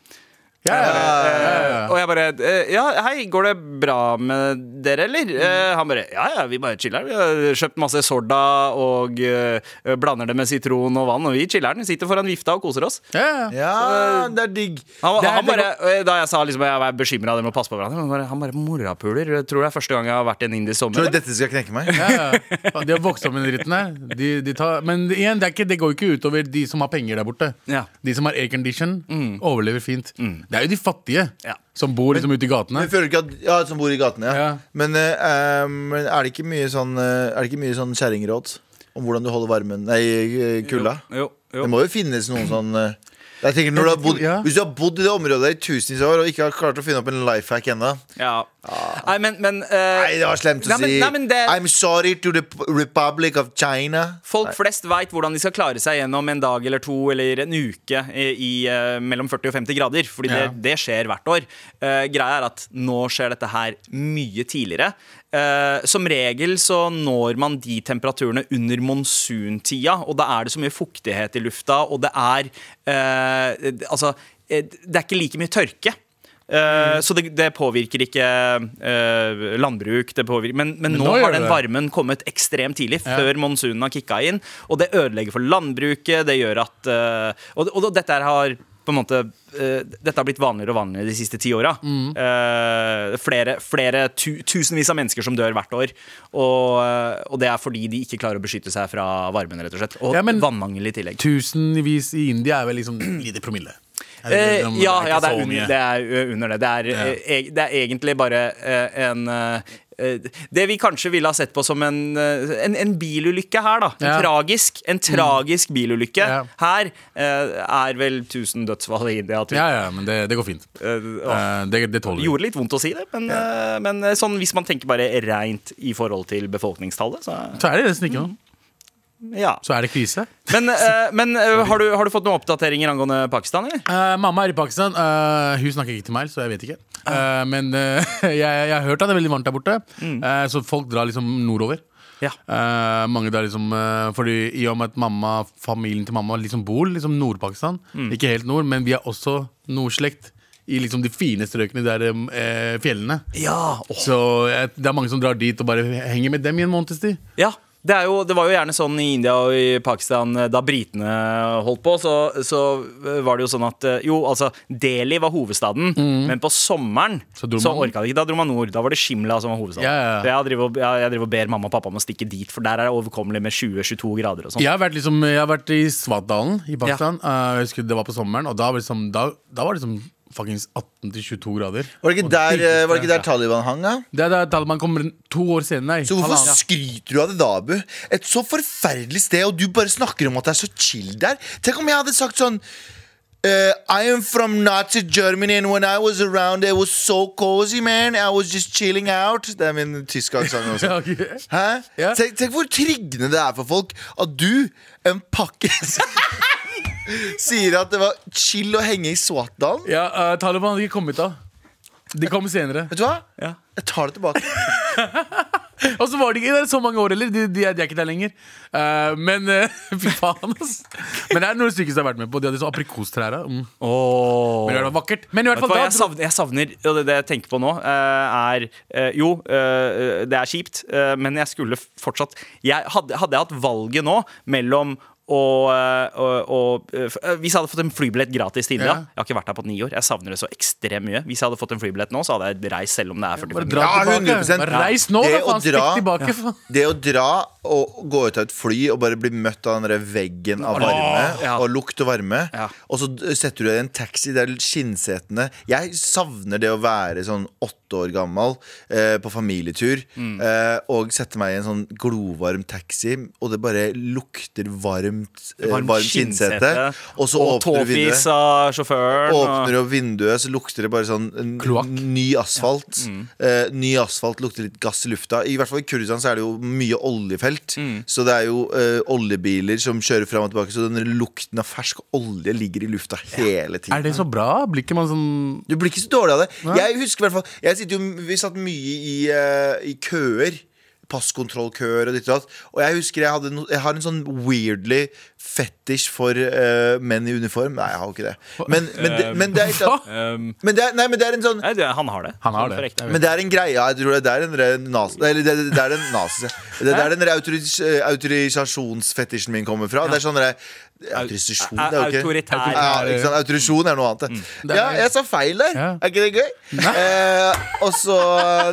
S4: Ja, ja, ja, ja, ja.
S3: Og jeg bare eh, Ja, hei, går det bra med dere, eller? Eh, Han bare Ja, ja, vi bare chiller'n. Vi har kjøpt masse Sorda og eh, blander det med sitron og vann, og vi chiller'n. Sitter foran vifta og koser oss.
S4: ja, ja.
S2: Ja, det er digg.
S3: eh, Han,
S4: Det er
S3: han
S4: det
S3: bare, eh, da jeg sa liksom jeg var bekymra, dere må passe på hverandre, han bare, han bare morapuler. Tror det er første gang jeg har vært i en indisk sommer.
S2: Tror du
S3: eller?
S2: dette skal knekke meg?
S4: Ja, ja. Faen, De har vokst opp med den dritten her. De, de tar, men igjen, det, er ikke, det går jo ikke utover de som har penger der borte.
S3: Ja. Mm.
S4: De som har aircondition, overlever fint. Det er jo de fattige
S3: Ja.
S4: som bor liksom ute i gatene.
S2: Men føler du ikke at, ja, Som bor i gatene, ja.
S4: Ja.
S2: Men eh, um, er det ikke mye sånn eh, Er det ikke mye sånn kjerringråd om hvordan du holder varmen Nei, eh, kulda?
S3: Jo, jo.
S2: Det må jo finnes noen sånn eh, jeg tenker, når du har bodd,
S4: Ja.
S2: Hvis du har bodd i det området der i tusenvis av år og ikke har klart å finne opp en life hack ennå
S3: Ja.
S4: Ah.
S3: Nei, men, men eh,
S2: Nei, det var slemt å
S3: Nei, men-
S2: si.
S3: nei, men det-
S2: I'm sorry to the Republic of China.
S3: Folk flest veit hvordan de skal klare seg gjennom en dag eller to eller en uke i, i eh, mellom 40 og 50 grader, fordi det,
S4: Ja.
S3: det skjer hvert år. Eh, greia er at nå skjer dette her mye tidligere. Eh, som regel så når man de temperaturene under monsuntida, og da er det så mye fuktighet i lufta, og det er eh, d- Altså, eh, det er ikke like mye tørke.
S4: Mm.
S3: Eh, Så det, det påvirker ikke eh, landbruk, det påvirker, men, men, nå,
S4: nå gjør
S3: har den
S4: det det.
S3: varmen kommet ekstremt tidlig, før monsunen har kicka inn. Og det ødelegger for landbruket. Det gjør at eh, og, og dette her har på en måte eh, Dette har blitt vanligere og vanligere de siste ti åra.
S4: Mm.
S3: Eh, flere flere tu, tusenvis av mennesker som dør hvert år. Og, eh, og det er fordi de ikke klarer å beskytte seg fra varmen, rett og slett. Og
S4: Ja, men-
S3: vannmangel i tillegg.
S4: Tusenvis i India er vel liksom lite promille. Er det
S3: Eh,
S4: liksom-
S3: ja,
S4: ikke
S3: ja, det
S4: så
S3: er, under,
S4: mye.
S3: det er ø, under det. Det er,
S4: Ja.
S3: eh, eg- det er egentlig bare eh, en eh, eh, det vi kanskje ville ha sett på som en, eh, en, en bilulykke her, da. En
S4: Ja. Mm.
S3: tragisk, en tragisk bilulykke
S4: Ja.
S3: her eh, er vel 1000 dødsfall i India. Typ.
S4: Ja, ja, men det, det går fint.
S3: Eh, åh,
S4: Eh, det, det tåler
S3: det
S4: vi.
S3: gjorde litt vondt å si det, men, eh, men eh, sånn, hvis man tenker bare reint i forhold til befolkningstallet, så
S4: Så er det nesten ikke noe.
S3: ja.
S4: Så er det krise.
S3: Men, eh, men eh, har, du, har du fått noen oppdateringer angående Pakistan, eller?
S4: Eh, mamma er i Pakistan. Eh, hun snakker ikke til meg, så jeg vet ikke. Eh, men eh, jeg, jeg har hørt at det er veldig varmt der borte, Eh, så folk drar liksom nordover.
S3: Ja.
S4: Eh, mange der liksom eh, Fordi i og med at mamma, familien til mamma liksom bor liksom Nord-Pakistan. Ikke helt nord, men vi er også nordslekt i liksom de fine strøkene der eh, fjellene.
S3: Ja, åh.
S4: Så eh, det er mange som drar dit og bare henger med dem i en måneds tid.
S3: Ja, det, er jo, det var jo gjerne sånn i India og i Pakistan eh, da britene holdt på, så, så eh, var det jo sånn at eh, Jo, altså, Delhi var hovedstaden, men på sommeren så,
S4: Mhm. Så dro man-
S3: orka det ikke. Da dro man nord. Da var det Shimla som var hovedstaden.
S4: Ja, ja, ja.
S3: Så Jeg, driver og, jeg, jeg driver og ber mamma og pappa om å stikke dit, for der er det overkommelig med 20-22 grader og sånn.
S4: Jeg har vært, liksom, jeg har vært i Svartdalen i Pakistan. Eh, jeg husker Det var på sommeren, og da var det liksom, da, da var det liksom fuckings 18-22 grader.
S2: Var det ikke der, eh, var det ikke der Taliban hang, da?
S4: Det er da Taliban kommer to år senere. nei.
S2: Så hvorfor
S4: Halvannet.
S2: skryter du av det da, Abu? Et så forferdelig sted, og du bare snakker om at det er så chill der. Tenk om jeg hadde sagt sånn eh, I am from Nazi Germany, and when I was around, it was so cozy, man. I was just chilling out. Det er min tyske aksent også.
S4: Ja, ok.
S2: Hæ?
S4: Ja.
S2: Tenk, tenk hvor triggende det er for folk at du, en pakke Sier at det var chill å henge i Swatdalen.
S4: Ja, eh, Taliban hadde ikke kommet da. De kom senere.
S2: Vet du hva?
S3: Ja.
S2: Jeg tar det tilbake.
S4: Og så var de ikke der så mange år heller. De, de, er- de er ikke der lenger. Eh, men eh, fy faen, ass. Men det er noen stykker som jeg har vært med på. De hadde sånn aprikostrær. da. Mm.
S3: Åh.
S4: Men det var vakkert. Men i hvert
S3: Vet du
S4: fall
S3: hva,
S4: da
S3: jeg savner, jeg savner og det, det jeg tenker på nå, eh, er eh, Jo, eh, det er kjipt, eh, men jeg skulle f- fortsatt jeg hadde, hadde jeg hatt valget nå mellom å eh, å- å, eh, f- eh, hvis jeg hadde fått en flybillett gratis til India
S4: Ja.
S3: Jeg har ikke vært her på ni år. Jeg savner det så ekstremt mye. Hvis jeg hadde fått en flybillett nå, så hadde jeg reist selv om det er 45
S4: Bare
S3: minutter.
S4: dra
S2: Ja,
S4: tilbake.
S2: 100%.
S4: Bare reis nå, da,
S2: Det å
S4: faen. Stikk
S2: dra-
S4: tilbake. faen.
S2: Det å dra og gå ut av et fly og bare bli møtt av den der veggen av varme
S3: ja.
S2: og lukt og varme,
S3: Ja.
S2: og så d- setter du deg i en taxi, det er skinnsetene Jeg savner det å være sånn åtte år gammel eh, på familietur
S4: Mm.
S2: eh, og sette meg i en sånn glovarm taxi, og det bare lukter varmt, eh,
S3: Varm
S2: varmt, skinnsete,
S3: skinnsete,
S2: og så
S3: Og
S2: åpner du
S3: tåfis
S2: vinduet.
S3: av sjåføren.
S2: Åpner du opp vinduet, så lukter det bare sånn en
S4: Kloakk. Mm.
S2: ny asfalt. Eh, ny asfalt lukter litt gass i lufta. I hvert fall i Kurdistan så er det jo mye oljefelt.
S4: Mm.
S2: Så det er jo eh, oljebiler som kjører fram og tilbake, så den lukten av fersk olje ligger i lufta hele tiden.
S4: Er det så bra? Blir ikke man sånn
S2: Du blir ikke så dårlig av det. Jeg husker i hvert fall jeg sitter jo, Vi satt mye i, eh, i køer. Passkontrollkøer og ditt og datt. Og jeg husker jeg, hadde no, jeg har en sånn weirdly fetisj for eh, menn i uniform. Nei, jeg har jo ikke det. Men, men, det, men det er ikke at-
S3: Um,
S2: men det er, Nei, men det er en sånn
S3: nei, det, han har det.
S4: Han har det.
S3: For ekte.
S2: men det er en greie, jeg tror det er en re- nas... Eller det, det er en nazi... Det, det er den re- autoris- eh, autorisasjonsfetisjen min kommer fra. Det er sånn derre Autorisasjon, det er jo ikke
S3: Autoritær.
S2: ja, ikke sant? Autorisjon er noe annet. det. Ja, jeg sa feil der.
S4: Ja.
S2: Er ikke det gøy? Eh, og så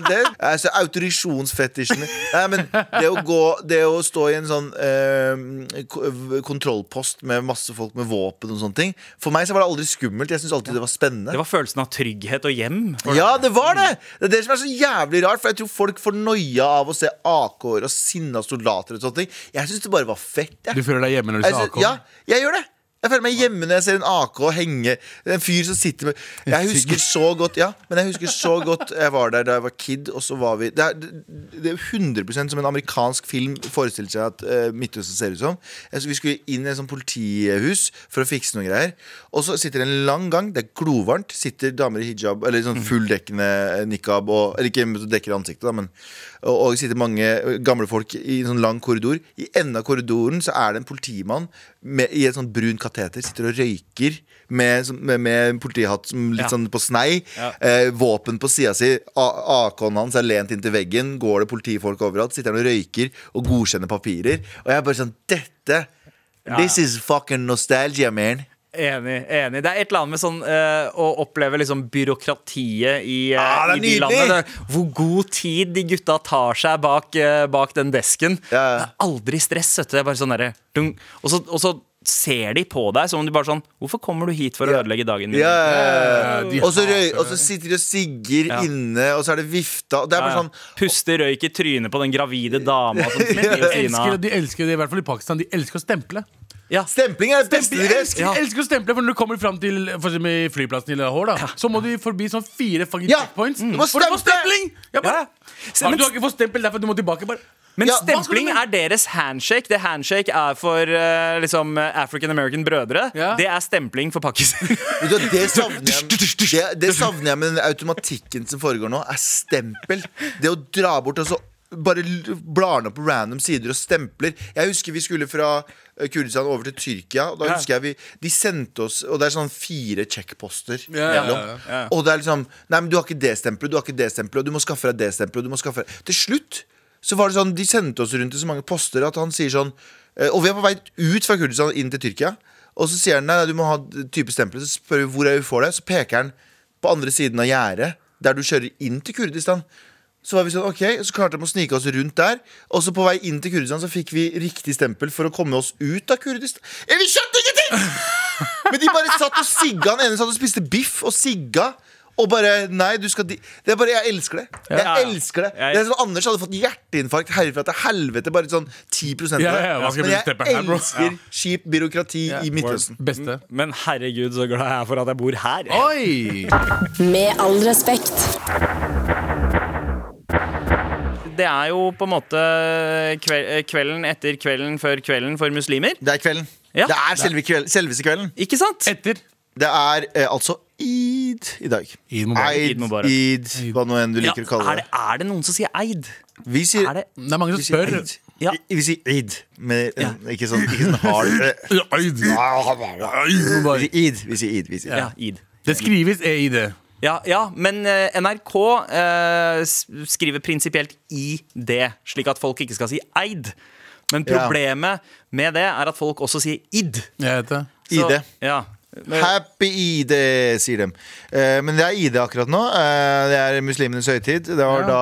S2: det. Altså, autorisjonsfetisjen min. Nei, men det å gå Det å stå i en sånn eh, ko- kontrollpost med masse folk med våpen og sånne ting For meg så var det aldri skummelt. Jeg syns alltid det var spennende.
S3: Det var følelsen av trygghet og hjem.
S2: Ja, det var det! Det er det som er så jævlig rart, for jeg tror folk får noia av å se AK-er og sinna soldater og sånne ting. Jeg syns det bare var fett,
S4: Du
S2: jeg.
S4: føler deg hjemme når du
S2: jeg
S4: ser
S2: synes,
S4: AK?
S2: ja, jeg gjør det. Jeg føler meg hjemme når jeg ser en AK henge En fyr som sitter med Jeg husker så godt Ja, men jeg husker så godt jeg var der da jeg var kid, og så var vi Det er, det er 100 som en amerikansk film forestiller seg at eh, Midtøsten ser ut som. Altså, vi skulle inn i et sånt politihus for å fikse noen greier. Og så sitter det en lang gang, det er glovarmt, sitter damer i hijab, eller sånn fulldekkende nikab, og, eller ikke dekker ansiktet, da, men og, og sitter mange gamle folk i en sånn lang korridor. I enden av korridoren så er det en politimann med, i et sånn brun kateter, sitter og røyker med, sånn- med, med en politihatt som litt
S3: Ja.
S2: sånn på snei.
S3: Ja.
S2: Eh, våpen på sida si. A- AK-en hans er lent inntil veggen. Går det politifolk overalt? Sitter han og røyker og godkjenner papirer. Og jeg er bare sånn Dette! This is fucking nostalgia, man.
S3: Enig. enig Det er et eller annet med sånn eh, å oppleve liksom byråkratiet i, eh,
S2: Ah, det
S3: i
S2: er
S3: de
S2: nydelig!
S3: landene. Det- Hvor god tid de gutta tar seg bak, eh, bak den desken.
S2: Ja, ja.
S3: Det er aldri stress. Vet du. Det er bare sånn derre dung. og, så, og så ser de på deg som om du bare sånn Hvorfor kommer du hit for å ødelegge dagen min?
S2: Ja, ja,
S4: Ja,
S2: ja,
S4: de
S2: ja. Og så
S4: hater
S2: røy-
S4: det.
S2: og så sitter de og sigger
S3: Ja.
S2: inne, og så er det vifta. Og det er
S3: Ja,
S2: bare
S3: ja.
S2: sånn
S3: Puster røyk i trynet på den gravide dama som sitter ved
S4: De
S3: siden
S4: elsker,
S3: av.
S4: de elsker det, i hvert fall i Pakistan. De elsker å stemple.
S3: Ja.
S2: Stempling er det beste
S4: De
S2: de vet!
S4: elsker,
S3: Ja.
S4: elsker å stemple, for når du kommer fram til for eksempel, flyplassen i Lahore, da, så må du forbi sånn fire fucking
S2: Ja,
S4: checkpoints.
S2: du må
S4: For du får
S2: stemple!
S4: stempling! Jeg bare,
S3: Ja. Se,
S4: Har
S3: men-
S4: du har ikke fått stempel derfor du må tilbake? Bare.
S3: Men
S2: Ja, hva
S3: stempling
S4: skal du
S3: er deres handshake. Det handshake er for eh, liksom African American brødre.
S4: Ja.
S3: Det er stempling for Pakistan.
S2: Vet du hva, Det savner jeg det, det savner jeg med den automatikken som foregår nå, er stempel. Det å dra bort og så bare l- blar den opp på random sider og stempler. Jeg husker vi skulle fra eh, Kurdistan over til Tyrkia, og da husker jeg vi De sendte oss Og det er sånn fire checkposter
S4: Ja, ja,
S2: mellom. Og det er liksom Nei, men du har ikke det stempelet, du har ikke det stempelet, og du må skaffe deg det stempelet, og du må skaffe deg Til slutt så var det sånn De sendte oss rundt til så mange poster at han sier sånn eh, Og vi er på vei ut fra Kurdistan inn til Tyrkia. Og så sier han nei, nei, du må ha d- type stempel. Så spør vi hvor er vi får det. Så peker han på andre siden av gjerdet, der du kjører inn til Kurdistan. Så var vi sånn, ok, så klarte de å snike oss rundt der. Og så på vei inn til Kurdistan så fikk vi riktig stempel for å komme oss ut av Kurdistan. Eh, Vi skjønte ingenting! Men de bare satt og sigga. Den ene satt og spiste biff og sigga. Og bare Nei, du skal di Det er bare Jeg elsker det. Jeg
S3: Ja, ja.
S2: elsker det.
S3: Jeg-
S2: Det er sånn Anders hadde fått hjerteinfarkt herfra til helvete. Bare sånn 10 av det.
S4: Ja, ja, hva skal
S2: Men
S4: jeg
S2: jeg
S4: bruke stepperen her, bro?
S2: elsker kjipt byråkrati i Midtøsten.
S4: Beste.
S3: Men herregud, så glad jeg er for at jeg bor her.
S4: Oi!
S6: Med all respekt.
S3: Det er jo på en måte eh, kve- kvelden etter kvelden før kvelden for muslimer.
S2: Det er kvelden.
S3: Ja.
S2: Det er selve kveld, selveste kvelden.
S3: Ikke sant?
S4: Etter.
S2: Det er eh, altså id i dag.
S4: Eid Mubarak.
S2: Eid,
S3: Eid Mubarak.
S2: Eid, hva nå enn du
S3: Ja,
S2: liker å kalle
S3: er, det,
S2: det.
S3: er det noen som sier eid?
S2: Vi sier,
S3: Er det
S4: Det er mange
S2: vi
S4: som
S2: sier
S4: spør.
S2: eid.
S3: Ja.
S2: I- Vi sier eid, men eh, ikke sånn, ikke sånn hard eh,
S4: Eid.
S2: Vi sier eid. Vi sier eid. Vi sier eid.
S3: Ja, eid.
S4: Det skrives eid.
S3: Ja, ja men eh, NRK eh, s- skriver prinsipielt i det, slik at folk ikke skal si eid. Men
S2: Ja.
S3: problemet med det er at folk også sier id.
S4: Jeg vet det.
S3: Så-
S2: ID.
S3: Ja.
S2: Happy ID, sier de. Eh, men det er ID akkurat nå. Eh, det er muslimenes høytid. Det var da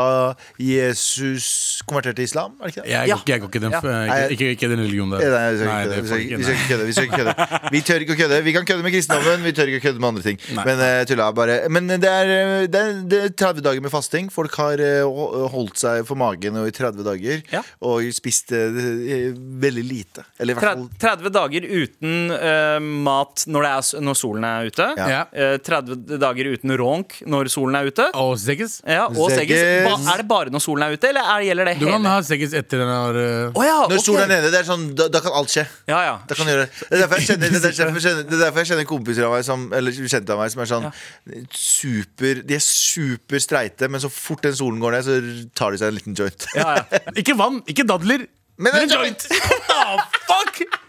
S2: Jesus konverterte til islam, er det ikke det?
S4: Jeg,
S3: Ja.
S4: går ikke- jeg går ikke den,
S3: Ja.
S4: ikke, ikke, ikke den religionen der.
S2: Eh, Nei, vi
S4: Nei, det får
S2: skal
S4: jeg
S2: ikke
S4: ikke.
S2: kødde. Vi skal ikke kødde. Vi skal ikke kødde. Vi tør ikke å kødde. Vi kan kødde med kristendommen, vi tør ikke å kødde med andre ting. Men eh, tulla er bare Men det er, eh, det, er, det er 30 dager med fasting. Folk har eh, ho- holdt seg for magen og i 30 dager
S3: Ja.
S2: og spist eh, veldig lite. Eller i hvert fall
S3: 30 30 dager uten eh, mat når, det er, s- når solen er ute.
S2: Ja.
S4: Ja.
S3: Eh, 30 dager uten ronk når solen er ute.
S4: Og sekkes?
S3: Ja, og seggis.
S2: Seggis.
S3: Ba- Er det bare når solen er ute, eller er, gjelder det
S4: Du kan
S3: hele?
S4: ha sekkes etter den har eh,
S3: Å ja,
S2: Når
S3: Ah, ok.
S2: solen er nede, det er sånn, da, da kan alt skje.
S3: Ja, ja.
S2: Da kan du gjøre det. Det er derfor jeg kjenner, det er derfor jeg kjenner, det er derfor jeg kjenner kompiser av meg som, Eller kjente av meg som er sånn super, De er superstreite, men så fort den solen går ned, så tar de seg en liten joint.
S3: Ja, ja.
S4: Ikke vann, ikke dadler,
S2: Men
S4: men
S2: en
S3: Ah,
S4: en joint! What the fuck?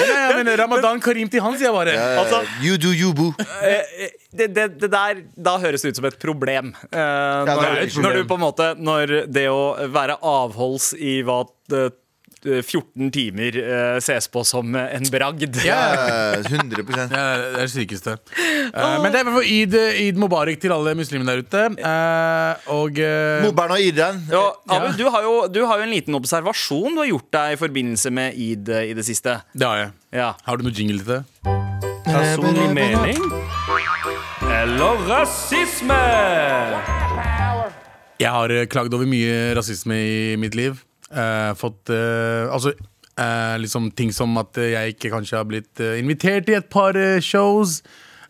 S4: Nei, jeg mener Ramadan Karim til hans, jeg bare.
S3: Altså,
S2: Eh, You do you, boo.
S3: eh, det, det, det der Da høres det ut som et problem.
S2: det
S3: Eh, når,
S2: er et problem.
S3: når du på en måte Når det å være avholds i hva eh, 14 timer eh, ses på som en bragd.
S2: Eh, 100
S4: Ja, det er det sykeste. Eh, men det er i hvert fall Eid, Eid Mubarak til alle muslimene der ute. Eh, og eh,
S2: Mobber'n og Irren.
S3: Ja, Abu, Du, har jo, du har jo en liten observasjon du har gjort deg i forbindelse med id eh, i det siste.
S4: Det har jeg.
S3: Ja.
S4: Har du noe jingle til det?
S2: Eh,
S5: Personlig mening eller rasisme?
S4: Jeg har eh, klagd over mye rasisme i mitt liv. Eh, fått eh, Altså eh, liksom ting som at eh, jeg ikke kanskje har blitt eh, invitert i et par eh, shows.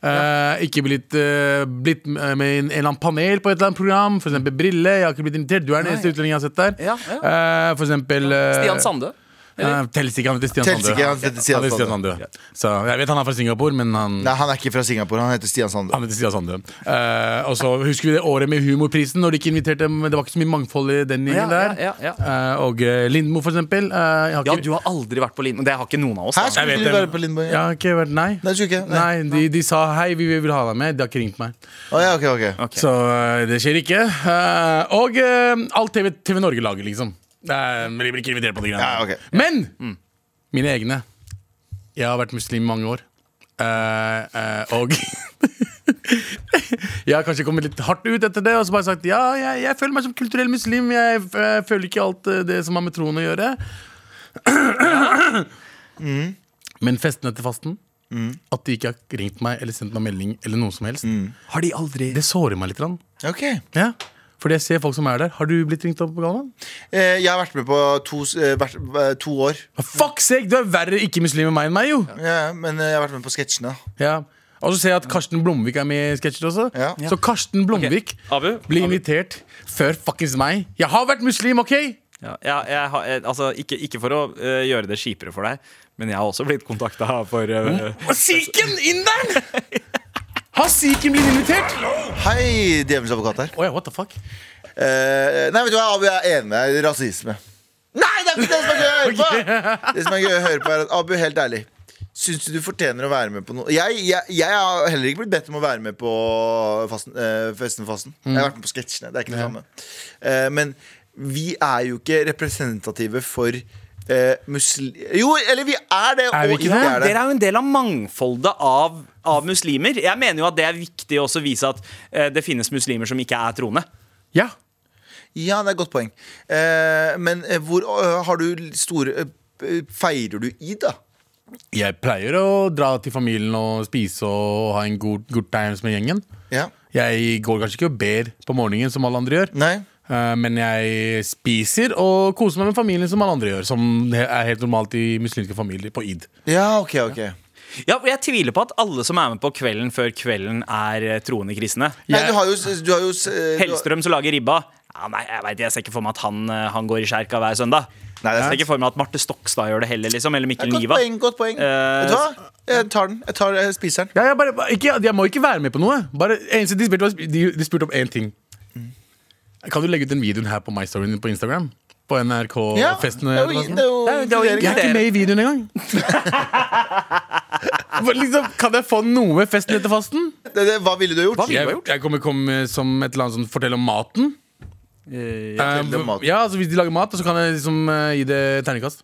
S4: Eh, Ikke blitt, eh, blitt med med i en, en eller annen panel på et eller annet program. For eksempel Brille. Jeg har ikke blitt invitert. Du er den eneste utlendingen jeg har sett der.
S3: Ja,
S4: Eh, for eksempel eh,
S3: Stian Sande.
S4: Eh, Telles ikke, han heter Stian
S2: Telles
S4: Sandø.
S2: ikke, han heter Stian
S4: Han heter Stian Sandø. Så jeg vet han er fra Singapore, men han,
S2: Nei, han er ikke fra Singapore. Han heter Stian Sande.
S4: han heter Stian Sandø. Eh, og så husker vi det året med Humorprisen, når de ikke inviterte men Det var ikke så mye mangfold i den
S3: Ja,
S4: gjengen der.
S3: ja, ja,
S4: Eh, og eh, Lindmo, for eksempel. eh, jeg har
S3: Ja,
S4: ikke,
S3: du har aldri vært på Lindmo. Det har ikke noen av oss.
S2: Her
S3: da.
S2: skulle
S4: vet
S2: du
S4: det.
S2: være på Lindborg.
S4: jeg
S2: Ja.
S4: har ikke vært Nei.
S2: Nei, du ikke,
S4: nei.
S2: nei.
S4: de, de sa hei, vi vil ha deg med. De har ikke ringt meg.
S2: Å, ja, ok, ok.
S3: Ok.
S4: Så eh, det skjer ikke. Eh, og eh, alt TV, TV Norge lager, liksom. Det er- men de blir ikke invitert på de greiene.
S2: Ja, ok.
S4: Men mine egne Jeg har vært muslim i mange år. Eh, eh, og Jeg har kanskje kommet litt hardt ut etter det og så bare sagt ja, jeg, jeg føler meg som kulturell muslim. Jeg, f- jeg føler ikke alt eh, det som har med troen å gjøre. Men festen etter fasten, at de ikke har ringt meg eller sendt meg melding, eller noe som helst,
S2: Mm.
S3: Har de aldri
S4: det sårer meg litt. Rann.
S2: Ok.
S4: Ja, fordi jeg ser folk som er der. Har du blitt ringt opp på Galvan?
S2: Eh, jeg har vært med på to, s- eh, vært, eh, to år.
S3: Mm.
S4: Fuck sake, du er verre ikke-muslim enn meg enn meg, jo!
S2: Ja, men eh, jeg har vært med på sketsjene.
S4: Ja. Og så ser jeg at Karsten Blomvik er med i sketsjer også.
S2: Ja.
S4: Så Karsten Blomvik
S3: Abu?
S4: blir invitert før fuckings meg. Jeg har vært muslim, OK?
S3: Ja, jeg, jeg, har- eh, altså, ikke, ikke for å eh, gjøre det kjipere for deg, men jeg har også blitt kontakta for eh,
S4: Og Sikhen! Inderen! Har sikhen blitt invitert? Å
S2: Hei, djevelens advokat her.
S4: ja, what the fuck?
S2: Eh, nei, vet du hva, Abu jeg er enig med deg. Rasisme. Nei, det er ikke det som er gøy å høre på! Det som er gøy å høre på er at Abu, helt ærlig Syns du du fortjener å være med på noe? Jeg, jeg, jeg har heller ikke blitt bedt om å være med på fasten, eh, festen og fasten. Jeg har vært med på sketsjene. Det er ikke det samme. Eh, men vi er jo ikke representative for eh, musli... Jo, eller vi er det,
S4: Er vi
S2: og
S4: ikke
S2: ikke
S4: det?
S2: er det.
S3: Dere er jo en del av mangfoldet av, av muslimer. Jeg mener jo at det er viktig å også vise at eh, det finnes muslimer som ikke er troende.
S4: Ja.
S2: Ja, det er et godt poeng. Eh, men eh, hvor eh, har du store eh, Feirer du i, da?
S4: Jeg pleier å dra til familien og spise og ha en god, good times med gjengen.
S2: Ja.
S4: Jeg går kanskje ikke og ber på morgenen som alle andre gjør.
S2: Nei?
S4: Eh, Men jeg spiser og koser meg med familien som alle andre gjør. Som he- er helt normalt i muslimske familier på id.
S2: Ja, ok, ok.
S3: Ja, for Jeg tviler på at alle som er med på Kvelden før kvelden, er eh, troende kristne.
S2: Nei,
S4: Jeg-
S2: du har jo, s- du har jo s- eh, du har-
S3: Hellstrøm som lager ribba. Ja, nei, Jeg vet, jeg ser ikke for meg at han, eh, han går i skjerka hver søndag.
S2: Nei, det er
S3: jeg ser
S2: sant.
S3: ikke for meg at Marte Stokstad gjør det heller, liksom. Eller Mikkel
S2: Godt
S3: Niva.
S2: poeng. godt poeng
S3: Eh,
S2: Vet du hva? Jeg tar den. Jeg tar eh, jeg spiser den.
S4: Ja, jeg, bare, bare- ikke, jeg må ikke være med på noe. Bare, eneste de, spurte, var- de, de spurte om én ting. Mm. Kan du legge ut den videoen her på My Story din på Instagram? På
S2: Ja,
S4: NRK-festen?
S2: det er jo- det er jo
S3: Det er jo- det er jo
S2: inkludering.
S4: jeg er ikke med i videoen engang! Bare liksom, kan jeg få noe med festen etter fasten?
S2: Det- det- Hva ville du gjort?
S3: Hva ville-
S4: Jeg, jeg kommer komme som et eller annet sånn fortell om maten. Eh,
S2: fortell om maten.
S4: ja, altså Hvis de lager mat, så kan jeg liksom eh, gi det terningkast.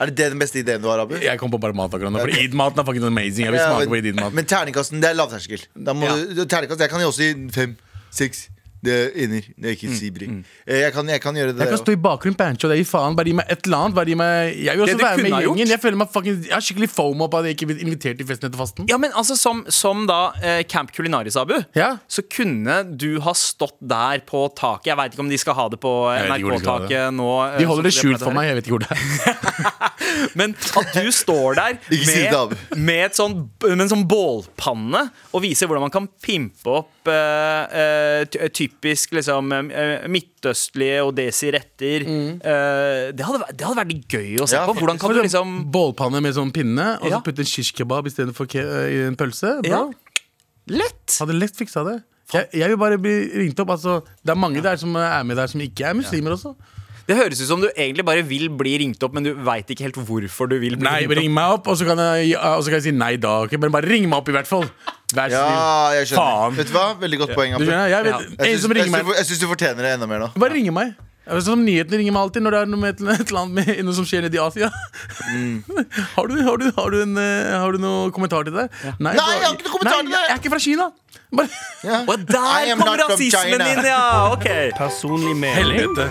S2: Er det det den beste ideen du har, Abu?
S4: Jeg kom på bare mat akkurat nå, for Eid-maten er fucking amazing. Jeg vil
S2: Ja,
S4: smake på
S2: men,
S4: Eid-maten.
S2: men terningkasten, det er lavterskel. Da må
S3: Ja.
S2: du, terningkast, jeg kan jo også gi fem, seks. Det er inner. Det er ikke sibri. Eh, Jeg, kan, jeg kan gjøre det.
S4: Mm, Jeg kan
S2: også.
S4: stå i bakgrunnen Pancho, det gir faen. Bare gi meg et eller annet. Bare gi meg jeg
S3: Det
S4: vil også
S3: du
S4: være med
S3: kunne ha
S4: i
S3: gjort.
S4: gjengen. Jeg føler meg fucking Jeg har skikkelig fomo på at jeg ikke blir invitert til festen etter fasten.
S3: Ja, men altså Som, som da eh, Camp Culinaris, Abu,
S4: Ja.
S3: så kunne du ha stått der på taket. Jeg veit ikke om de skal ha det på eh,
S4: Jeg vet ikke hvor de skal ha det.
S3: NRK-taket nå. eh,
S4: De holder det
S3: sånn som pleide å
S4: skjult for
S3: høre.
S4: meg. Jeg vet ikke hvor det er.
S3: Men at du står der
S2: Ikke si det til Abu.
S3: med, med, et sånn, med en sånn bålpanne og viser hvordan man kan pimpe opp eh, eh, ty- typisk liksom, eh, midtøstlige odesi-retter. Eh, det, hadde væ- det hadde vært litt gøy å se
S2: Mm. Ja,
S3: på. Hvordan kan du liksom
S4: Bålpanne med sånn pinne, og så
S3: Ja.
S4: putte en shish kebab istedenfor ke i en pølse. Bro.
S3: ja. Lett!
S4: Hadde lett fiksa det. Jeg, jeg vil bare bli ringt opp. Altså, det er mange der som er med der som ikke er muslimer også.
S3: Det høres ut som du egentlig bare vil bli ringt opp, men du veit ikke helt hvorfor du vil bli
S4: Nei,
S3: ringt opp.
S4: ring meg opp, og så kan jeg, ja, og så kan jeg si nei da. ok? Men bare ring meg opp, i hvert fall. Vær så
S2: Ja, jeg
S4: snill.
S2: skjønner.
S4: Faen.
S2: Vet du hva? Veldig godt poeng.
S4: Du
S2: Abu.
S4: skjønner, jeg vet,
S2: Jeg
S4: En som
S2: syns- jeg
S4: ringer meg
S2: syns- jeg syns du fortjener det enda mer nå.
S4: Bare ringe meg. Det er Sånn som Nyhetene ringer meg alltid når det er noe, med et, eller- et eller annet med, noe som skjer nede i Asia. Har, du, har, du, har, du en, eh, har du noe kommentar til det?
S2: Nei, jeg har ikke noe kommentar
S4: nei,
S2: til
S4: Jeg,
S2: det.
S4: jeg er ikke fra Kina. Bare,
S2: Ja.
S3: Og
S2: I
S3: der
S2: am
S3: kom
S2: not from
S3: rasismen
S2: China.
S3: inn, ja! Ok.
S5: Personlig mening
S4: helvete.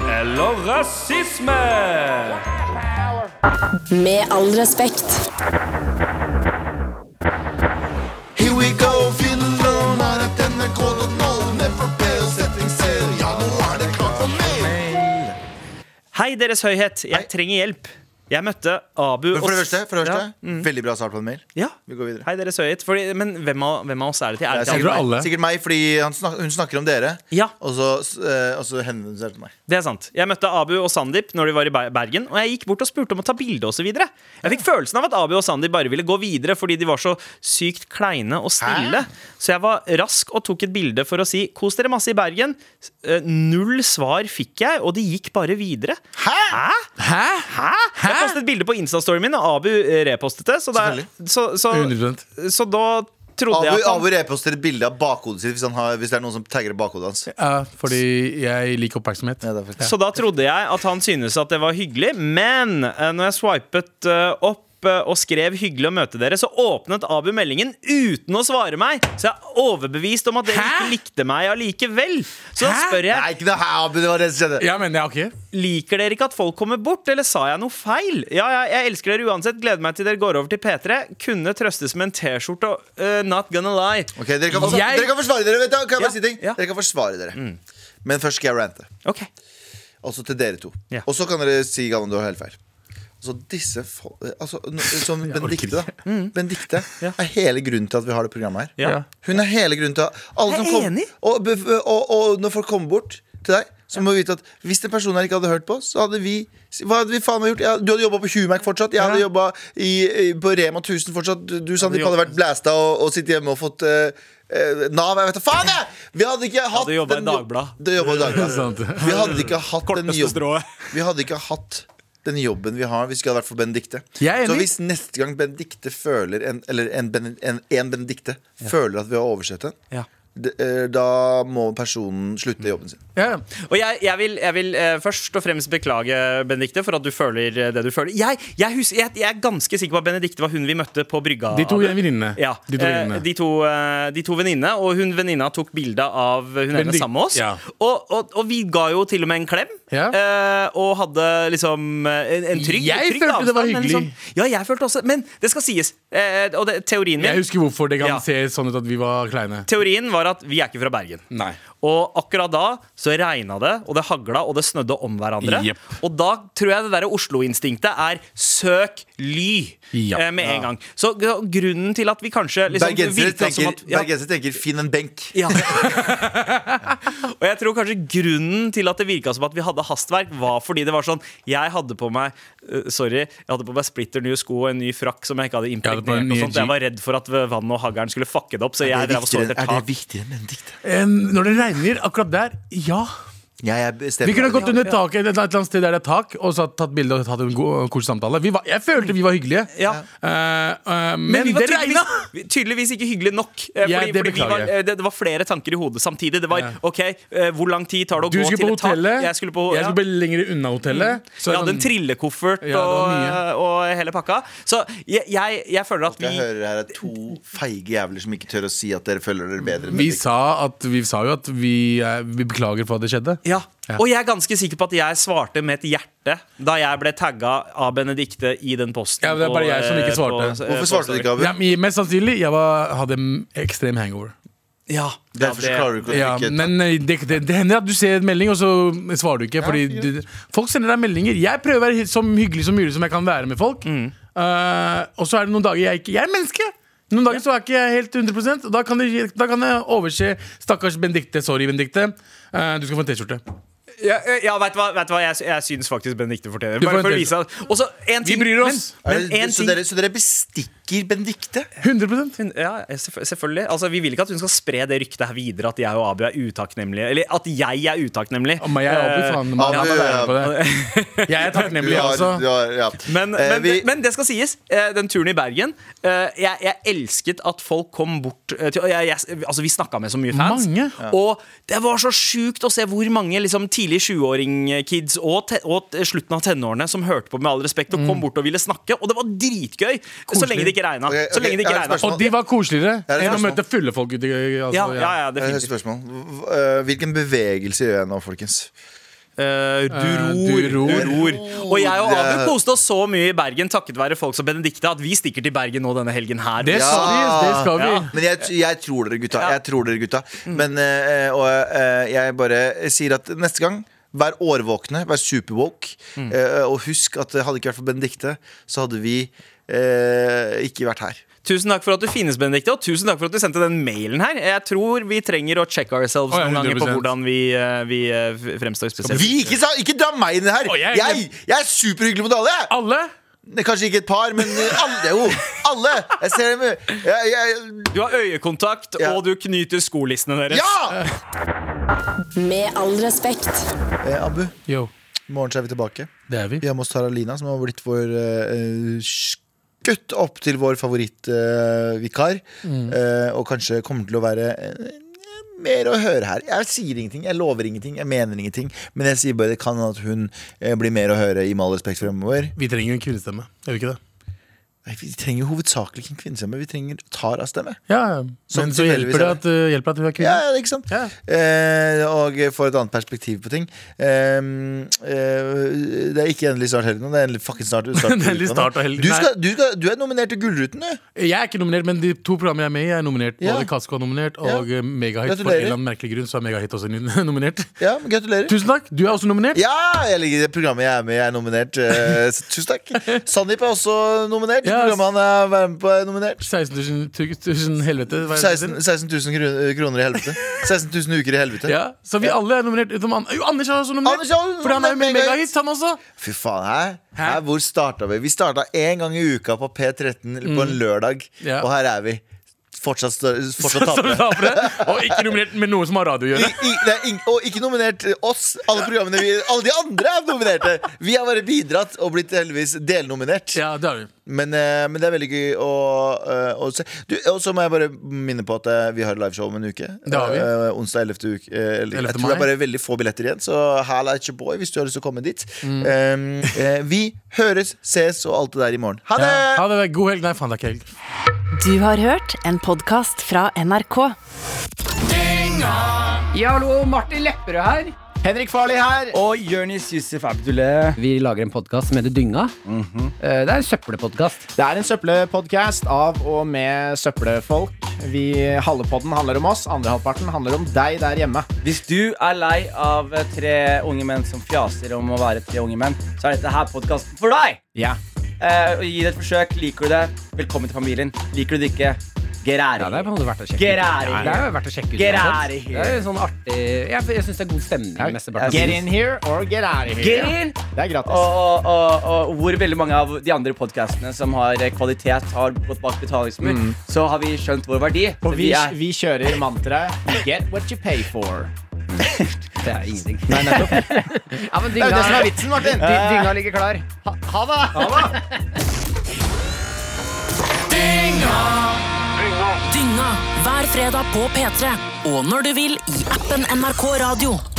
S5: eller rasisme?
S6: Med all respekt.
S2: Here we go, Finland er et NRK.no med forbedringssetting selv. Ja, nå er det klart for meg.
S3: Hei, Deres Høyhet. Jeg trenger hjelp. Jeg møtte Abu
S2: Men for det
S3: og-
S2: første, for det første veldig bra svar på en mail.
S3: Ja.
S2: Vi går videre.
S3: Mm. Hei, Deres Høyhet. Fordi, men hvem av, hvem av oss er det til? Er det til
S4: sikkert
S3: alle?
S4: alle.
S2: sikkert meg, fordi han snak, hun snakker om dere.
S3: Ja.
S2: Og så, eh, og så henvender hun seg til meg.
S3: Det er sant. Jeg møtte Abu og Sandeep når de var i Ber- Bergen, og jeg gikk bort og spurte om å ta bilde osv. Jeg fikk følelsen av at Abu og Sandeep bare ville gå videre fordi de var så sykt kleine og stille. Så jeg var rask og tok et bilde for å si 'kos dere masse i Bergen'. S- eh, Null svar fikk jeg, og de gikk bare videre. Hæ?
S4: Hæ?
S3: Hæ? Jeg postet et bilde på Instastoryen min, og Abu eh, repostet det. Så, det, er- så, så,
S4: 100%.
S3: så da trodde
S2: Abu,
S3: jeg at han
S2: Abu reposter et bilde av bakhodet sitt hvis, han har, hvis det er noen som tagger bakhodet hans.
S4: Ja, fordi jeg liker oppmerksomhet.
S2: Ja, det er faktisk-
S3: Så da trodde jeg at han syntes at det var hyggelig, men eh, når jeg swipet eh, opp eh, og skrev 'hyggelig å møte dere', så åpnet Abu meldingen uten å svare meg. Så jeg er overbevist om at dere
S4: Hæ?
S3: ikke likte meg allikevel. Så da
S4: Hæ?
S3: spør jeg
S2: Nei, ikke noe her, Abu. Det var det som skjedde.
S4: Ja, men ja, ok.
S3: liker dere ikke at folk kommer bort, eller sa jeg noe feil? Ja, ja, jeg elsker dere uansett. Gleder meg til dere går over til P3. Kunne trøstes med en T-skjorte og eh, Not gonna lie.
S2: Ok, dere kan, forsvare,
S4: Jeg-
S2: dere kan forsvare dere. Vet du, hva? kan jeg bare
S3: Ja,
S2: si ting?
S3: ja. Mm.
S2: Dere kan forsvare dere. Men først skal jeg rante.
S3: Ok,
S2: Altså til dere to.
S3: Ja.
S2: Og så kan dere si Galvan, du har helt feil. Altså disse fol- altså, n- Som Benedicte, da. Benedicte er hele grunnen til at vi har det programmet her.
S3: Mm. Ja. Ja.
S2: Hun er hele grunnen til at alle
S3: Jeg er
S2: som kom,
S3: enig.
S2: og, bef- og, og når folk kommer bort til deg, så må vi vite at hvis den personen her ikke hadde hørt på, så hadde vi Hva hadde vi faen meg gjort? Ja, du hadde jobba på Humac fortsatt. Jeg hadde
S3: Ja.
S2: jobba i, i, på Rema 1000 fortsatt. Du, du Sandeep, hadde
S3: jobbet-
S2: vært blæsta og, og sittet hjemme og fått eh, eh, Nav, jeg vet da faen! jeg! Vi hadde ikke hatt
S3: hadde jobbet i
S2: den jo-
S3: Dagbladet. Sånn.
S2: Du jobbet i Dagbladet.
S4: Sant.
S2: Vi hadde ikke hatt den
S3: Korteste
S2: jobben
S3: strået.
S2: Vi hadde ikke hatt den jobben vi har hvis vi hadde vært for Benedicte.
S4: Jeg er
S2: Så
S4: enig.
S2: hvis neste gang Benedicte føler en, Eller en, Bene- en, en Benedicte føler at vi har oversett henne,
S3: ja
S2: d- eh, da må personen slutte jobben sin.
S4: Ja, ja.
S3: Og jeg, jeg vil, jeg vil eh, først og fremst beklage Benedikte for at du føler eh, det du føler. Jeg, jeg, hus- jeg, jeg er ganske sikker på at Benedikte var hun vi møtte på brygga.
S4: De to
S3: Abu.
S4: venninnene.
S3: Ja,
S4: De to
S3: eh,
S4: venninnene.
S3: de to, eh, de to venninne, og hun venninna tok bilde av hun ene
S4: Benedikt-
S3: sammen med oss.
S4: ja.
S3: Og, og, og vi ga jo til og med en klem,
S4: Ja.
S3: eh, og hadde liksom eh, en, en trygg
S4: Jeg
S3: trygg
S4: følte det var
S3: avstand, men
S4: hyggelig.
S3: liksom- ja, jeg følte også Men det skal sies. eh, og det, teorien min
S4: Jeg husker hvorfor det kan
S3: Ja.
S4: se sånn ut at vi var kleine.
S3: Teorien var at vi er ikke fra Bergen.
S4: Nei.
S3: Og akkurat da så regna det, og det hagla, og det snødde om hverandre.
S4: Jepp.
S3: Og da tror jeg det derre Oslo-instinktet er søk ly
S4: Ja.
S3: eh, med en gang. Så g- grunnen til at vi kanskje liksom,
S2: Bergensere
S3: virka
S2: tenker,
S3: som at ja,
S2: bergensere tenker 'finn en benk'.
S3: ja. og jeg tror kanskje grunnen til at det virka som at vi hadde hastverk, var fordi det var sånn Jeg hadde på meg eh, Sorry, jeg hadde på meg splitter nye sko og en ny frakk som jeg ikke hadde
S4: hadde på meg
S3: impregnert. og
S4: nye
S3: sånt. Jeg var redd for at vannet og haglen skulle fucke det opp, så jeg
S2: Er det
S3: drev og så
S2: viktigere,
S3: etter
S2: er
S3: tak.
S2: det viktigere enn Benedicte?
S4: Eh, når det regner akkurat der, ja.
S2: Jeg er
S4: Vi kunne
S2: stemmer.
S4: gått under taket et eller annet sted der det er tak, og så tatt bilde og hatt en god- koselig samtale. Vi var, jeg følte vi var hyggelige.
S3: Ja.
S4: Eh, eh, men,
S3: Men vi var
S4: det regna!
S3: tydeligvis, vi- tydeligvis ikke hyggelig nok. eh,
S4: Ja,
S3: fordi,
S4: det
S3: fordi vi var,
S4: beklager jeg.
S3: eh, det, det var flere tanker i hodet samtidig. Det var
S4: Ja.
S3: OK, eh, hvor lang tid tar det å
S4: Du
S3: gå
S4: skulle
S3: til
S4: på
S3: et tak?
S4: hotellet.
S3: Jeg skulle på ja.
S4: jeg
S3: Mm.
S4: skulle bli lenger unna hotellet. Så
S3: Jeg hadde
S4: sånn-
S3: en trillekoffert
S4: Ja, det var
S3: og,
S4: mye.
S3: eh, og hele pakka. Så jeg, jeg, jeg føler at vi
S2: Jeg hører her er to feige jævler som ikke tør å si at dere føler dere
S3: Mm.
S2: bedre. enn
S4: vi,
S2: Benedicte.
S4: sa at, vi sa jo at vi, eh, vi beklager for at det skjedde.
S3: ja.
S4: Ja.
S3: Og jeg er ganske sikker på at jeg svarte med et hjerte da jeg ble tagga av Benedicte i den posten.
S4: Ja, det er
S3: på,
S4: bare jeg som
S3: eh,
S4: ikke svarte.
S3: på- eh,
S2: Hvorfor svarte du
S3: på-
S2: ikke, Abu?
S4: Ja, men mest sannsynlig jeg var, hadde en ekstrem hangover.
S3: Ja,
S2: Derfor så
S3: ja, det-
S2: klarer du ikke å
S4: Ja,
S2: trykke
S4: men eh, det, det, det hender at du ser en melding, og så svarer du ikke. Fordi du, folk sender deg meldinger. Jeg prøver å være hy- så hyggelig som mulig som jeg kan være med folk.
S3: Mm.
S4: Eh, og så er det noen dager jeg ikke Jeg er menneske! Noen dager så er ikke jeg helt 100 og da kan, det, da kan jeg overse Stakkars Benedicte. Sorry, Benedicte. Eh, du skal få en T-skjorte.
S3: Ja, eh, ja vet du hva, vet du hva? Jeg, sy- jeg syns faktisk Benedicte fortjener det.
S4: Du får
S3: Bare
S4: en
S3: for å
S4: til.
S3: vise at- Og så en ting-
S4: bryr oss.
S2: Er
S3: Men,
S2: det-
S3: men en
S2: så,
S3: ting
S2: dere, så dere bestikker backer Benedicte.
S4: 100
S3: Hun- Ja, ja, selvfø- selvfølgelig. Altså, vi vil ikke at hun skal spre det ryktet her videre at jeg og Abu er utakknemlige. Eller at jeg er utakknemlig.
S4: Å, Men jeg er aldri
S3: Eh,
S4: faen man,
S2: ja,
S4: man
S2: men-
S4: lærer på det. Jeg er
S2: Du
S4: takknemlig, altså. jeg
S2: har-
S4: også.
S2: du har- ja.
S3: Men,
S2: Eh,
S3: men,
S2: vi-
S3: men det skal sies. eh, Den turen i Bergen eh, jeg, jeg elsket at folk kom bort eh, til, og jeg, jeg, Altså Vi snakka med så mye fans.
S4: Mange.
S3: Og det var så sjukt å se hvor mange liksom, tidlig 20-åring-kids og, te- og t- slutten av tenårene som hørte på med all respekt
S4: Mm.
S3: og kom bort og ville snakke. Og det var dritgøy! Så lenge det ikke regna.
S2: Ok,
S3: Så
S2: ok,
S3: lenge det
S2: jeg
S3: ikke
S2: har et
S3: regna.
S2: spørsmål.
S4: Og de var koseligere
S2: Ja, det er
S4: enn å
S2: spørsmål.
S4: møte fulle folk ute. i- Altså,
S3: Ja, ja, ja,
S2: Jeg har et
S3: definitivt.
S2: spørsmål. Hv- eh, Hvilken bevegelse gjør jeg nå, folkens?
S3: Eh, du,
S4: Eh,
S3: ror,
S4: du ror.
S3: du ror. Og jeg og Abu
S2: Det-
S3: koste oss så mye i Bergen takket være folk som Benedicte at vi stikker til Bergen nå denne helgen her.
S4: Det skal vi. Det skal vi.
S3: Ja.
S2: Men jeg, jeg tror dere, gutta.
S3: Ja.
S2: Jeg tror dere, gutta. Men, eh, og eh, jeg bare sier at neste gang Vær årvåkne, vær superwoke.
S4: Mm.
S2: eh, og husk at hadde det ikke vært for Benedicte, så hadde vi eh, ikke vært her.
S3: Tusen takk for at du finnes, Benedikte, og tusen takk for at du sendte den mailen her. Jeg tror vi trenger å check ourselves
S4: Å, ja,
S3: noen ganger på
S4: 100%.
S3: hvordan vi, eh, vi eh, f- fremstår spesielt.
S2: Vi, ikke, sa- ikke dra meg inn i det her!
S4: Å, jeg er Ah.
S2: jeg,
S4: enig.
S2: jeg er superhyggelig mot alle! jeg.
S4: Alle?
S2: Ne, Kanskje ikke et par, men alle jo! Alle! Jeg ser dem jeg, jeg,
S3: Du har øyekontakt,
S2: Ja.
S3: og du knyter skolissene deres.
S2: Ja!
S6: Med all respekt.
S2: Eh, Abu, i
S4: Yo,
S2: morgen så er vi tilbake.
S4: det er vi.
S2: Vi har med oss Tara Lina, som har blitt vår eh, skutt opp til vår favorittvikar. og kanskje kommer til å være eh, mer å høre her. Jeg sier ingenting, jeg lover ingenting, jeg mener ingenting. Men jeg sier bare det kan at hun eh, blir mer å høre, i med all respekt fremover.
S4: Vi trenger jo en kvinnestemme. Gjør vi ikke det?
S2: Nei, vi trenger jo hovedsakelig ikke en kvinnestemme, vi trenger Taras stemme.
S4: Ja,
S2: Som
S4: Men så
S2: tilfeldigvis
S4: hjelper det
S2: er
S4: at, uh, hjelper det at hun er kvinne.
S2: Ja, ja, ikke sant?
S4: Ja.
S2: Eh, og får et annet perspektiv på ting. Eh, eh, det er ikke endelig snart helgen, det er endelig fucking snart. snart
S4: Det er endelig snart av helgen,
S2: du, skal, du, skal, du er nominert til Gullruten, du.
S4: Jeg er ikke nominert, men de to programmene jeg er med i, er nominert.
S2: Ja.
S4: Både Kasko er nominert,
S2: Ja.
S4: og ja. Megahit. For en
S2: Gratulerer.
S4: eller annen merkelig grunn så er Megahit også nominert.
S2: Ja, men gratulerer.
S4: Tusen takk. Du er også nominert.
S2: ja, jeg ligger i det programmet jeg er med i, jeg er nominert. Eh, så tusen takk. Sandeep er også nominert.
S4: Ja,
S2: Programmet han er være med på, er nominert.
S4: 16 000, tu- tusen helvete. hva er det det
S2: 16, 16 000 kro- kroner i helvete. 16 000 uker i helvete.
S4: heter? Ja, så vi alle er nominert utenom An Jo, Anders er også nominert!
S2: Anders er også
S4: for han er jo med i
S2: nominert,
S4: Megahit, han også.
S2: Fy faen, hæ? hæ? Hvor starta vi? Vi starta én gang i uka på P13 eller på en lørdag,
S4: Ja.
S2: og her er vi. Fortsatt, stå- fortsatt
S4: Så
S2: tapere.
S4: tapere. Og ikke nominert med noe som har radio å
S2: I,
S4: gjøre.
S2: i, det er ing- og ikke nominert oss. Alle programmene vi, alle de andre er nominerte. Vi har bare bidratt og blitt heldigvis delnominert.
S4: Ja, det har vi.
S2: Men, eh, men det er veldig gøy å, eh, å se. Du, Og så må jeg bare minne på at eh, vi har liveshow om en uke.
S4: Det har vi.
S2: Eh, onsdag 11. uke. eh, eller-
S4: 11.
S2: jeg tror det er
S4: mai.
S2: bare veldig få billetter igjen, så hæl at your boy hvis du har lyst til å komme dit.
S4: Mm.
S2: Eh, eh, vi høres, ses og alt det der i morgen. Ha det!
S4: Ja. Ha det. God helg. Nei, faen, det er ikke helg.
S1: Du har hørt en podkast fra NRK.
S7: Ja, hallo, Martin Lepperød her.
S8: Henrik Farley her.
S5: Og Jonis Yusuf Abdullah.
S7: Vi lager en podkast som heter Dynga. Eh, Det er en søppelpodkast.
S8: Det er en søppelpodkast av og med søppelfolk. Vi, halve podden handler om oss, andre halvparten handler om deg der hjemme.
S5: Hvis du er lei av eh, tre unge menn som fjaser om å være tre unge menn, så er dette her podkasten for deg!
S8: Ja.
S5: Eh, og gi det et forsøk. Liker du det, velkommen til familien. Liker du det ikke, get out
S7: Ja,
S5: of
S7: det er på en
S5: here.
S7: måte verdt å sjekke
S5: Get
S7: ut.
S5: out
S7: Ja,
S5: of here.
S7: Det er jo verdt å sjekke ut.
S5: Get
S7: uansett.
S5: out of here.
S7: Det er jo sånn artig Jeg, jeg syns det er god stemning. mesteparten av
S8: Get
S7: tiden.
S8: in here or get out of
S5: Get
S8: here.
S5: in!
S8: Det er gratis.
S5: Og, og, og, og hvor veldig mange av de andre podkastene som har eh, kvalitet, har gått bak betalingsmur, så har vi skjønt vår verdi. Så
S8: Og vi,
S5: er-
S8: vi kjører mantraet Get what you pay for.
S7: Det er ingenting. Nei, ja, men
S8: Det er jo
S7: dynga,
S8: det som er vitsen, Martin.
S7: dy- dynga ligger klar.
S8: Ha det!
S9: Dynga hver fredag på P3 og når du vil i appen NRK Radio.